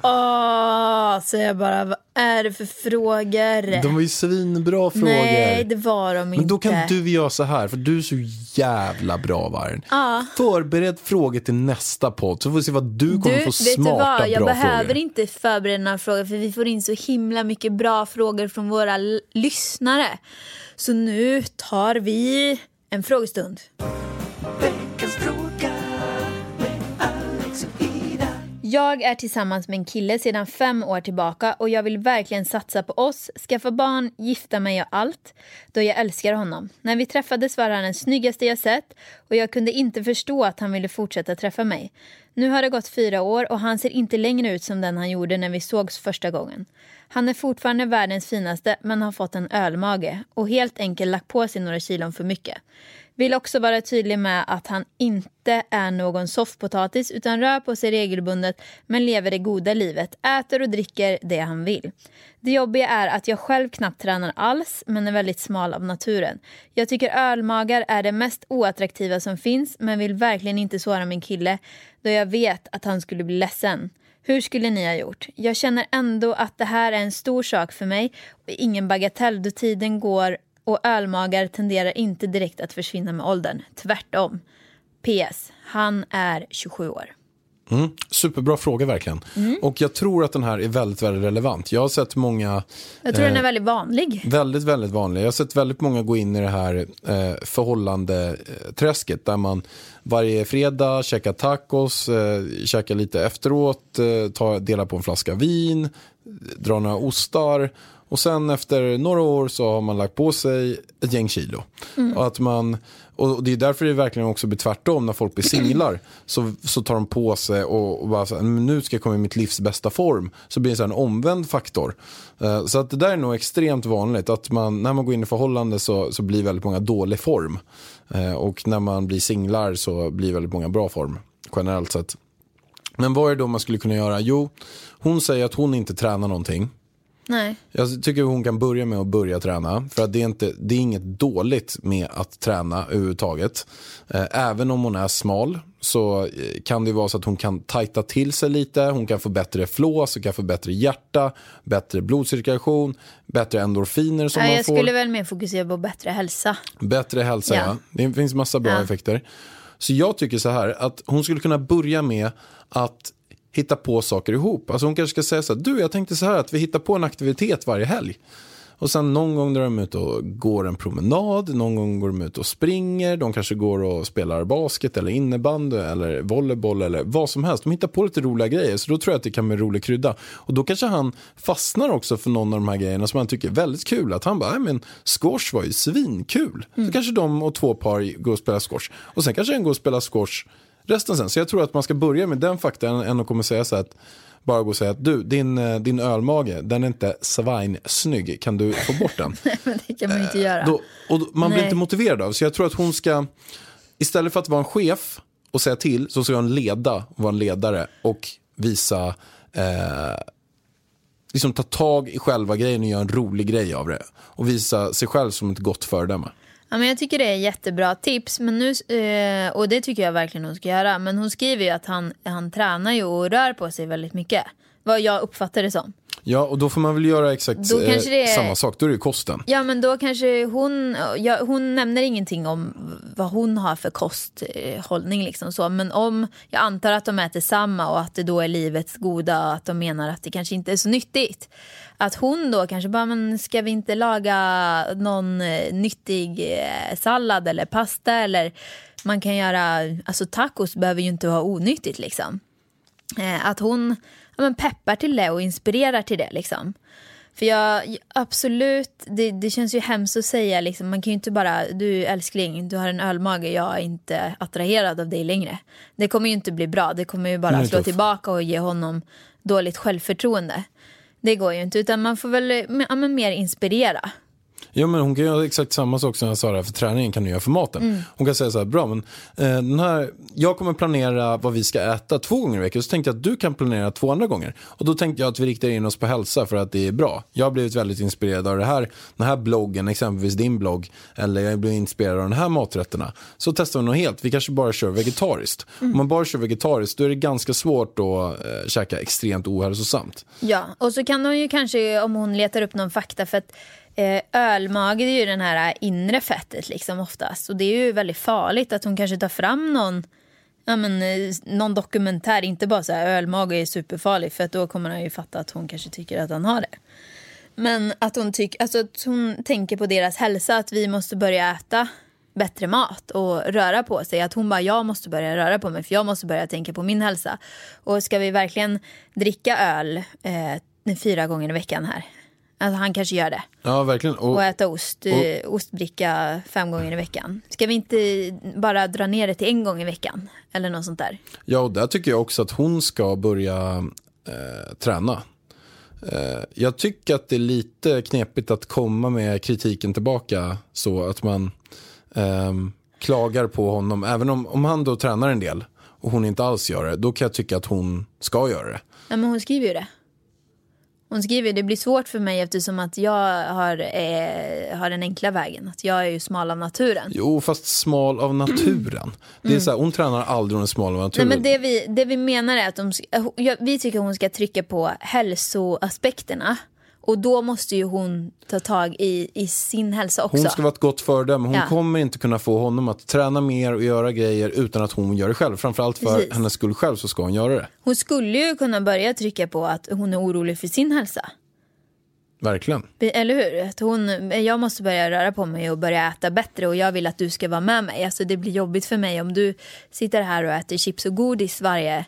Speaker 2: åh, säger jag bara. Vad är det för frågor?
Speaker 3: De var ju svinbra frågor.
Speaker 2: Nej, det var de inte.
Speaker 3: men då kan du göra så här, för du är så jävla bra Vargen. Förbered frågor till nästa podd, så får vi se vad du kommer
Speaker 2: Du,
Speaker 3: få
Speaker 2: vet du
Speaker 3: smarta
Speaker 2: vad? Jag
Speaker 3: bra
Speaker 2: behöver
Speaker 3: frågor.
Speaker 2: inte förbereda några frågor för vi får in så himla mycket bra frågor från våra l- lyssnare. Så nu tar vi en frågestund.
Speaker 1: Veckans fråga med Alex och Ida.
Speaker 2: Jag är tillsammans med en kille sedan fem år tillbaka och jag vill verkligen satsa på oss, skaffa barn, gifta mig och allt, då jag älskar honom. När vi träffades var han den snyggaste jag sett och jag kunde inte förstå att han ville fortsätta träffa mig. Nu har det gått fyra år och han ser inte längre ut som den han gjorde när vi sågs första gången. Han är fortfarande världens finaste men har fått en ölmage och helt enkelt lagt på sig några kilon för mycket. Vill också vara tydlig med att han inte är någon soffpotatis utan rör på sig regelbundet men lever det goda livet, äter och dricker det han vill. Det jobbiga är att jag själv knappt tränar alls men är väldigt smal av naturen. Jag tycker ölmagar är det mest oattraktiva som finns men vill verkligen inte såra min kille då jag vet att han skulle bli ledsen. Hur skulle ni ha gjort? Jag känner ändå att det här är en stor sak för mig och ingen bagatell då tiden går och ölmagar tenderar inte direkt att försvinna med åldern. Tvärtom. PS. Han är 27 år.
Speaker 3: Superbra fråga verkligen. Och jag tror att den här är väldigt, väldigt relevant. Jag har sett många
Speaker 2: Jag tror den
Speaker 3: Eh.
Speaker 2: är väldigt vanlig.
Speaker 3: Väldigt, väldigt vanlig. Jag har sett väldigt många gå in i det här eh, förhållande-träsket där man varje fredag käkar tacos, eh, käkar lite efteråt, eh, tar, delar på en flaska vin, drar några ostar och sen efter några år så har man lagt på sig ett gäng kilo. Och, att man, och det är därför det verkligen också blir tvärtom när folk blir singlar så, så tar de på sig och, och bara så här, "Men nu ska jag komma i mitt livs bästa form så blir det så här en omvänd faktor. Eh, Så att det där är nog extremt vanligt att man, när man går in i förhållande så, så blir väldigt många dålig form Eh, och när man blir singlar så blir väldigt många bra form generellt sett. Men vad är det då man skulle kunna göra? Jo, hon säger att hon inte tränar någonting.
Speaker 2: Nej.
Speaker 3: Jag tycker hon kan börja med att börja träna. För att det är, inte, det är inget dåligt med att träna överhuvudtaget. Eh, Även om hon är smal så eh, kan det vara så att hon kan tajta till sig lite. Hon kan få bättre flås, hon kan få bättre hjärta, bättre blodcirkulation, bättre endorfiner som
Speaker 2: Nej,
Speaker 3: man
Speaker 2: jag
Speaker 3: får.
Speaker 2: skulle väl mer fokusera på bättre hälsa.
Speaker 3: Bättre hälsa,
Speaker 2: Ja.
Speaker 3: ja. Det finns massa bra
Speaker 2: Ja.
Speaker 3: effekter. Så jag tycker så här, att hon skulle kunna börja med att hitta på saker ihop. Alltså hon kanske ska säga så här, du jag tänkte så här att vi hittar på en aktivitet varje helg. Och sen någon gång drar de ut och går en promenad, någon gång går de ut och springer, de kanske går och spelar basket eller innebandy eller volleyboll eller vad som helst. De hittar på lite roliga grejer så då tror jag att det kan bli en rolig krydda. Och då kanske han fastnar också för någon av de här grejerna som han tycker är väldigt kul. Att han bara, "Nej, men squash var ju svinkul. Så kanske de och två par går och spelar squash. Och sen kanske en går och spelar squash resten sen. Så jag tror att man ska börja med den faktan än att komma och säga så här att bara gå och säga att du, din, eh, din ölmage, den är inte svinsnygg, kan du få bort den?
Speaker 2: Men det kan man ju inte göra.
Speaker 3: Eh, Då, och då- man blir
Speaker 2: Nej.
Speaker 3: inte motiverad av, så jag tror att hon ska, istället för att vara en chef och säga till, så ska hon leda och vara en ledare och visa, eh, liksom ta tag i själva grejen och göra en rolig grej av det. Och visa sig själv som ett gott föredöme.
Speaker 2: Ja, men jag tycker det är jättebra tips. Men nu, eh, och det tycker jag verkligen hon ska göra. Men hon skriver ju att han, han tränar ju och rör på sig väldigt mycket. Vad jag uppfattar det som.
Speaker 3: Ja, och då får man väl göra exakt
Speaker 2: Då kanske det
Speaker 3: eh,
Speaker 2: är-
Speaker 3: samma sak, då är det ju kosten.
Speaker 2: Ja men då kanske hon, ja, hon nämner ingenting om vad hon har för kosthållning liksom så. Men om, jag antar att de äter samma och att det då är livets goda och att de menar att det kanske inte är så nyttigt. Att hon då kanske bara, men ska vi inte laga någon eh, nyttig eh, sallad eller pasta eller man kan göra, alltså tacos behöver ju inte vara onyttigt liksom. Eh, att hon ja, men peppar till det och inspirerar till det liksom. För jag, absolut, det, det känns ju hemskt att säga liksom, man kan ju inte bara, du älskling, du har en ölmage, jag är inte attraherad av dig längre. Det kommer ju inte bli bra, det kommer ju
Speaker 3: Den
Speaker 2: bara
Speaker 3: är
Speaker 2: slå
Speaker 3: tuff.
Speaker 2: tillbaka och ge honom dåligt självförtroende. Det går ju inte, utan man får väl ja, men mer inspirera.
Speaker 3: Ja, men hon kan göra exakt samma sak som jag sa där, för träningen kan du göra för maten. Hon kan säga så här, bra men eh, den här, jag kommer planera vad vi ska äta två gånger i veckan. Så tänkte jag att du kan planera två andra gånger. Och då tänkte jag att vi riktar in oss på hälsa för att det är bra. Jag har blivit väldigt inspirerad av det här, den här bloggen, exempelvis din blogg. Eller jag blev inspirerad av de här maträtterna. Så testar vi något helt, vi kanske bara kör vegetariskt. Om man bara kör vegetariskt då är det ganska svårt att eh, käka extremt ohälsosamt.
Speaker 2: Ja, och så kan hon ju kanske, om hon letar upp någon fakta, för att eh, ölmage det är ju den här eh, inre fettet liksom oftast. Och det är ju väldigt farligt att hon kanske tar fram någon, ja, men, eh, någon dokumentär, inte bara så här ölmage är superfarlig, för att då kommer han ju fatta att hon kanske tycker att han har det. Men att hon, tyck, alltså, att hon tänker på deras hälsa, att vi måste börja äta bättre mat och röra på sig. Att hon bara, jag måste börja röra på mig för jag måste börja tänka på min hälsa. Och ska vi verkligen dricka öl eh, fyra gånger i veckan här? Alltså han kanske gör det.
Speaker 3: Ja, verkligen. Och-
Speaker 2: Och äta ost, eh, ostbricka fem gånger i veckan. Ska vi inte bara dra ner det till en gång i veckan? Eller något sånt där.
Speaker 3: Ja, och där tycker jag också att hon ska börja eh, träna. Eh, jag tycker att det är lite knepigt att komma med kritiken tillbaka så att man ehm, klagar på honom. Även om, om han då tränar en del och hon inte alls gör det, då kan jag tycka att hon ska göra det.
Speaker 2: Ja, men hon skriver ju det. Hon skriver ju, det blir svårt för mig eftersom att jag har, eh, har den enkla vägen. Att jag är ju smal av naturen.
Speaker 3: Jo, fast smal av naturen. Det är så här, hon tränar aldrig hon är smal av
Speaker 2: Nej,
Speaker 3: naturen.
Speaker 2: men det, vi, det vi menar är att de, sk- eh, hon- ja, vi tycker hon ska trycka på hälsoaspekterna Och då måste ju hon ta tag i, i sin hälsa också.
Speaker 3: Hon ska vara ett gott föredöme. Hon
Speaker 2: Ja.
Speaker 3: kommer inte kunna få honom att träna mer och göra grejer utan att hon gör det själv. Framförallt för
Speaker 2: Precis.
Speaker 3: hennes skull själv så ska hon göra det.
Speaker 2: Hon skulle ju kunna börja trycka på att hon är orolig för sin hälsa.
Speaker 3: Verkligen.
Speaker 2: Be- Eller hur? Att hon, jag måste börja röra på mig och börja äta bättre och jag vill att du ska vara med mig. Alltså det blir jobbigt för mig om du sitter här och äter chips och godis varje,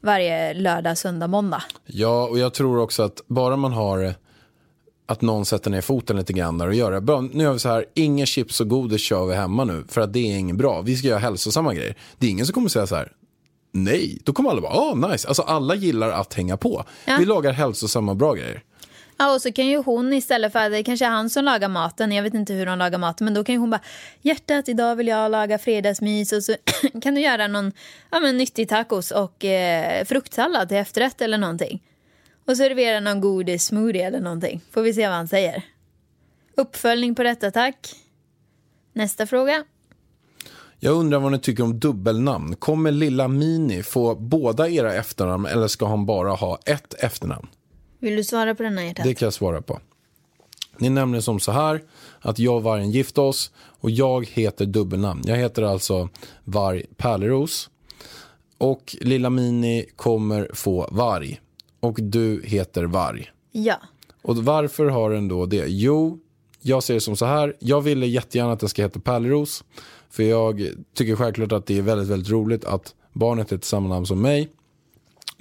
Speaker 2: varje lördag, söndag, måndag.
Speaker 3: Ja, och jag tror också att bara man har eh, att någon sätter ner foten lite grann där och gör det. Bra, nu gör vi så här, inga chips och godis kör vi hemma nu för att det är inget bra. Vi ska göra hälsosamma grejer. Det är ingen som kommer säga så här, nej. Då kommer alla bara, ah nice. Alltså alla gillar att hänga på. Vi lagar hälsosamma bra grejer.
Speaker 2: Ja, och så kan ju hon istället för, det kanske är han som lagar maten, jag vet inte hur hon lagar maten, men då kan ju hon bara hjärtat idag vill jag laga fredagsmys och så kan du göra någon ja, men, nyttig tacos och eh, fruktsallad till efterrätt eller någonting. Och servera någon godis smoothie eller någonting, får vi se vad han säger. Uppföljning på detta tack. Nästa fråga.
Speaker 3: Jag undrar vad ni tycker om dubbelnamn. Kommer lilla Mini få båda era efternamn eller ska han bara ha ett efternamn?
Speaker 2: Vill du svara på denna hjärtat?
Speaker 3: Det kan jag svara på. Ni nämner som så här att jag och vargen gifte oss och jag heter dubbelnamn. Jag heter alltså Varg Pärleros och Lilla Mini kommer få Varg och du heter Varg.
Speaker 2: Ja.
Speaker 3: Och varför har den då det? Jo, jag ser det som så här. Jag ville jättegärna att den ska heta Pärleros. För jag tycker självklart att det är väldigt, väldigt roligt att barnet heter samma namn som mig.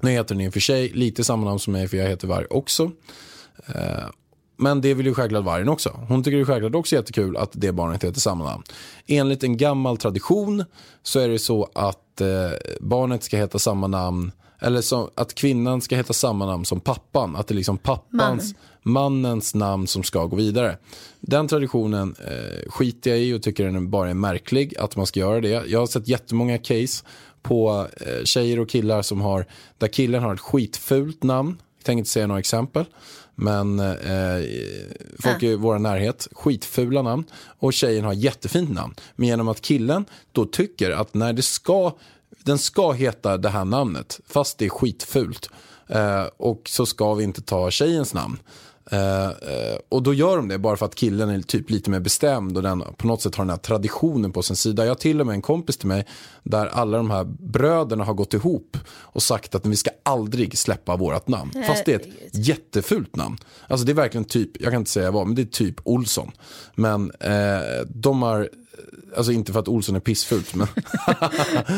Speaker 3: Nu heter den i och för sig lite samma namn som mig för jag heter Varg också. Eh, Men det vill ju självklart vargen också. Hon tycker ju självklart också jättekul att det barnet heter samma namn. Enligt en gammal tradition så är det så att eh, barnet ska heta samma namn eller så, att kvinnan ska heta samma namn som pappan. Att det är liksom pappans, mannens namn som ska gå vidare. Den traditionen eh, skiter jag i och tycker den bara är märklig att man ska göra det. Jag har sett jättemånga case på eh, tjejer och killar som har, där killen har ett skitfult namn. Jag tänker inte säga några exempel. Men eh, folk i vår närhet, skitfula namn. Och tjejen har jättefint namn. Men genom att killen då tycker att när det ska, den ska heta det här namnet, fast det är skitfult. Eh, och så ska vi inte ta tjejens namn. Eh, eh, och då gör de det bara för att killen är typ lite mer bestämd och den på något sätt har den här traditionen på sin sida. Jag har till och med en kompis till mig där alla de här bröderna har gått ihop och sagt att vi ska aldrig släppa vårt namn. Fast det är ett jättefult namn. Alltså det är verkligen typ, jag kan inte säga vad, men det är typ Olsson. Men eh, de har, alltså inte för att Olsson är pissfult, men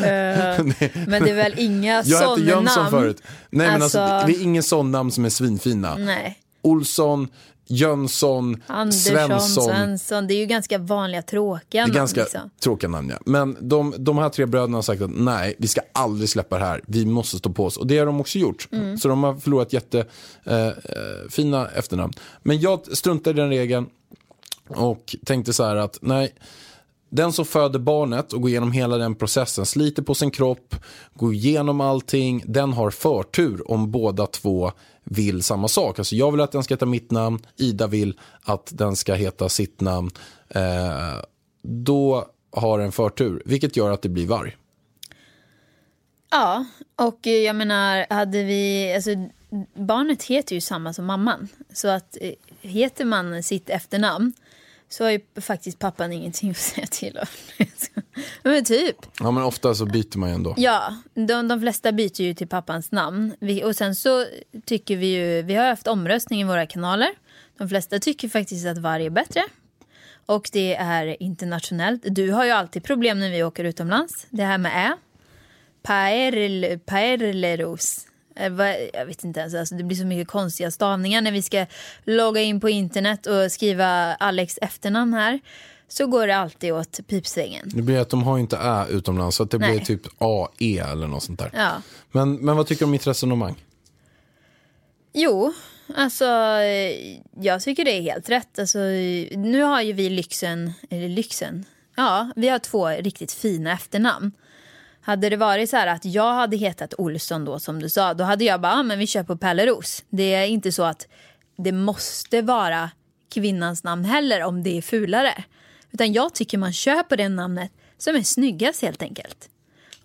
Speaker 2: Men det är väl inga
Speaker 3: jag hette
Speaker 2: sådana
Speaker 3: Jönsson
Speaker 2: namn?
Speaker 3: förut. Nej men alltså,
Speaker 2: Alltså-
Speaker 3: det det är ingen sån namn som är svinfina.
Speaker 2: Nej.
Speaker 3: Olsson, Jönsson,
Speaker 2: Andersson,
Speaker 3: Svensson.
Speaker 2: Svensson. Det är ju ganska vanliga tråkiga
Speaker 3: Det är
Speaker 2: namn.
Speaker 3: ganska
Speaker 2: liksom.
Speaker 3: tråkiga namn ja. Men de, de här tre bröderna har sagt att nej, vi ska aldrig släppa det här. Vi måste stå på oss. Och det har de också gjort. Så de har förlorat jättefina eh, fina efternamn. Men jag struntade i den regeln och tänkte så här att nej, den som föder barnet och går igenom hela den processen, sliter på sin kropp, går igenom allting, den har förtur om båda två vill samma sak. Alltså jag vill att den ska heta mitt namn, Ida vill att den ska heta sitt namn. Eh, då har den förtur, vilket gör att det blir varg.
Speaker 2: Ja, och eh, jag menar, hade vi... Alltså, barnet heter ju samma som mamman. Så att eh, heter man sitt efternamn så har ju faktiskt pappan ingenting att säga till om. Men typ.
Speaker 3: Ja, men ofta så byter man ju ändå.
Speaker 2: Ja, de, de flesta byter ju till pappans namn. Vi, och sen så tycker vi ju, vi har haft omröstning i våra kanaler. De flesta tycker faktiskt att varg är bättre. Och det är internationellt. Du har ju alltid problem när vi åker utomlands. Det här med ä. Paerl, paerleros. Eh, vad- Jag vet inte ens, alltså det blir så mycket konstiga stavningar när vi ska logga in på internet och skriva Alex efternamn här. Så går det alltid åt pipsvängen.
Speaker 3: Det blir att de har ju inte ä utomlands, så att det
Speaker 2: Nej.
Speaker 3: blir typ AE eller något sånt där.
Speaker 2: Ja.
Speaker 3: Men, men vad tycker du om mitt resonemang?
Speaker 2: Jo, alltså eh, jag tycker det är helt rätt. Alltså, eh, nu har ju vi lyxen, eller lyxen, ja, vi har två riktigt fina efternamn. Hade det varit så här att jag hade hetat Olsson då som du sa, då hade jag bara, ah, men vi kör på Pelleros. Det är inte så att det måste vara kvinnans namn heller om det är fulare. Utan jag tycker man kör på det namnet som är snyggast helt enkelt.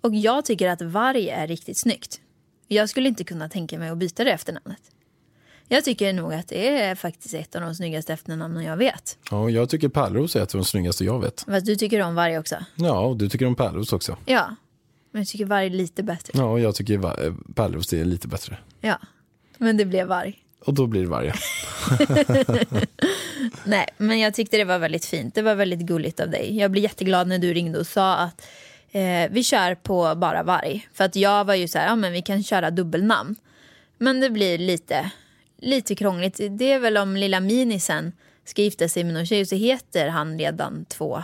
Speaker 2: Och jag tycker att varg är riktigt snyggt. Jag skulle inte kunna tänka mig att byta det efternamnet. Jag tycker nog att det är faktiskt ett av de snyggaste efternamnen jag vet.
Speaker 3: Ja, jag tycker Pärleros är ett av de snyggaste jag vet.
Speaker 2: Fast du tycker om varje också.
Speaker 3: Ja, och du tycker om Pärleros också.
Speaker 2: Ja, men jag tycker varg lite bättre.
Speaker 3: Ja, och jag tycker va- eh, Pärleros är lite bättre.
Speaker 2: Ja, men det blev varg.
Speaker 3: Och då blir det varje.
Speaker 2: Nej, men jag tyckte det var väldigt fint. Det var väldigt gulligt av dig. Jag blev jätteglad när du ringde och sa att eh, vi kör på bara varg. För att jag var ju så här, ja men vi kan köra dubbelnamn. Men det blir lite, lite krångligt. Det är väl om lilla minisen ska gifta sig med någon tjej så heter han redan två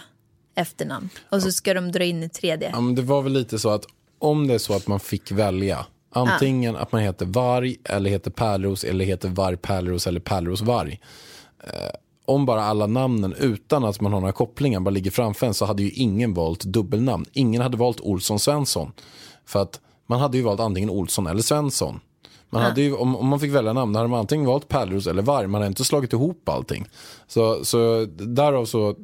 Speaker 2: efternamn. Och så ska de dra in ett tredje.
Speaker 3: Ja, men det var väl lite så att om det är så att man fick välja antingen att man heter Varg eller heter Pärleros eller heter Varg Pärleros eller Pärleros Varg. Eh, om bara alla namnen utan att man har några kopplingar bara ligger framför en så hade ju ingen valt dubbelnamn. Ingen hade valt Olsson Svensson. För att man hade ju valt antingen Olsson eller Svensson. Man hade ju, om, om man fick välja namn hade man antingen valt Pärleros eller Varg. Man hade inte slagit ihop allting. Så, så därav så,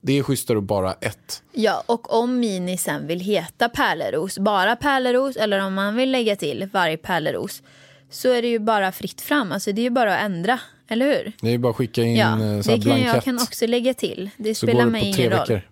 Speaker 3: det är schysstare att bara ett.
Speaker 2: Ja, och om Mini sen vill heta Pärleros, bara Pärleros eller om man vill lägga till varje Pärleros så är det ju bara fritt fram. Alltså det är ju bara att ändra, eller hur?
Speaker 3: Det är ju bara att skicka in
Speaker 2: Ja,
Speaker 3: en eh, sån här
Speaker 2: det kan
Speaker 3: blankett.
Speaker 2: jag kan också lägga till. Det
Speaker 3: så
Speaker 2: spelar
Speaker 3: går
Speaker 2: mig
Speaker 3: det på
Speaker 2: ingen
Speaker 3: tre
Speaker 2: roll.
Speaker 3: veckor.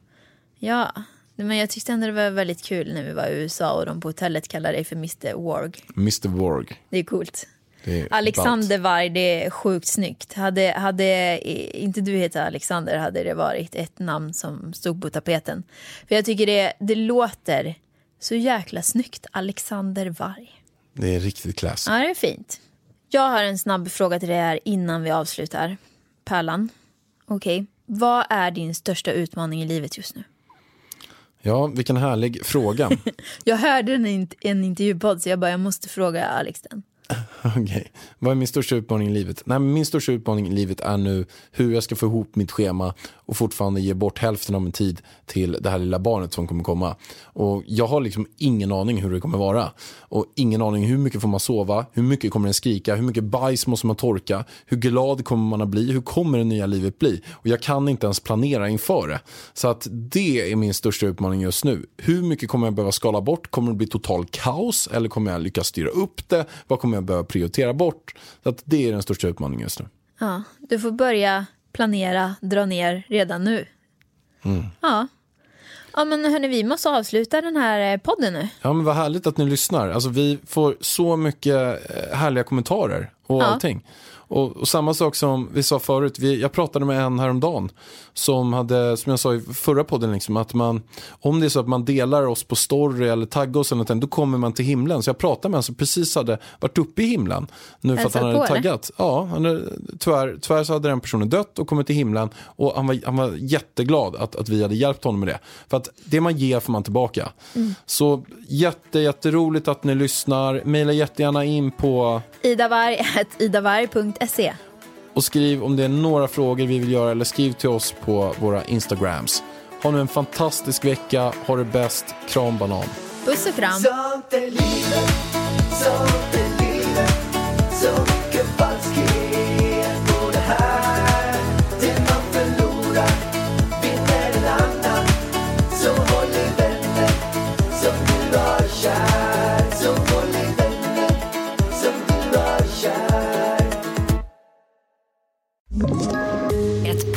Speaker 2: Ja, men jag tyckte ändå det var väldigt kul när vi var i USA och de på hotellet kallade dig för Mr. Warg.
Speaker 3: Mr. Worg.
Speaker 2: Det är coolt.
Speaker 3: Det är
Speaker 2: Alexander
Speaker 3: ballt.
Speaker 2: Varg, det är sjukt snyggt. Hade, hade eh, inte du hetat Alexander hade det varit ett namn som stod på tapeten. För jag tycker det, det låter så jäkla snyggt, Alexander Varg.
Speaker 3: Det är riktigt klass.
Speaker 2: Ja, det är fint. Jag har en snabb fråga till dig här innan vi avslutar. Pärlan, okej. Vad är din största utmaning i livet just nu?
Speaker 3: Ja, vilken härlig fråga.
Speaker 2: Jag hörde den i en- en intervjupodd så jag bara, jag måste fråga Alex den.
Speaker 3: Okej. Vad är min största utmaning i livet? Nej, men min största utmaning i livet är nu hur jag ska få ihop mitt schema och fortfarande ge bort hälften av min tid till det här lilla barnet som kommer komma. Och jag har liksom ingen aning hur det kommer vara. Och ingen aning hur mycket får man sova? Hur mycket kommer den skrika? Hur mycket bajs måste man torka? Hur glad kommer man att bli? Hur kommer det nya livet bli? Och jag kan inte ens planera inför det. Så att det är min största utmaning just nu. Hur mycket kommer jag behöva skala bort? Kommer det bli total kaos? Eller kommer jag lyckas styra upp det? Vad kommer jag behöva prioritera bort? Så att det är den största utmaningen just nu.
Speaker 2: Ja, du får börja planera, dra ner redan nu. Ja. Ja men hörni, vi måste avsluta den här eh, podden nu.
Speaker 3: Ja, men vad härligt att ni lyssnar. Alltså, vi får så mycket eh, härliga kommentarer och allting. Och, och samma sak som vi sa förut, vi, jag pratade med en häromdagen som hade, som jag sa i förra podden, liksom, att man, om det är så att man delar oss på story eller taggar oss eller någonting, då kommer man till himlen. Så jag pratade med en som precis hade varit uppe i himlen nu för att
Speaker 2: Hälsat
Speaker 3: han hade
Speaker 2: på, eller?
Speaker 3: taggat. Ja, han, hade- tyvärr, tyvärr så hade den personen dött och kommit till himlen och han var, han var jätteglad att, att vi hade hjälpt honom med det. För att det man ger får man tillbaka. Så jätte, jätteroligt att ni lyssnar. Maila jättegärna in på
Speaker 2: idavarg.idavarg.se
Speaker 3: och skriv om det är några frågor vi vill göra eller skriv till oss på våra Instagrams. Ha nu en fantastisk vecka, ha det bäst, kram banan.
Speaker 2: Puss och kram.
Speaker 1: Sånt är livet, sånt är livet Så mycket falskhet på det här Det man förlorar vinner en annan Så håll i vänner som du har kär Så håll i vänner som du har kär
Speaker 7: Ett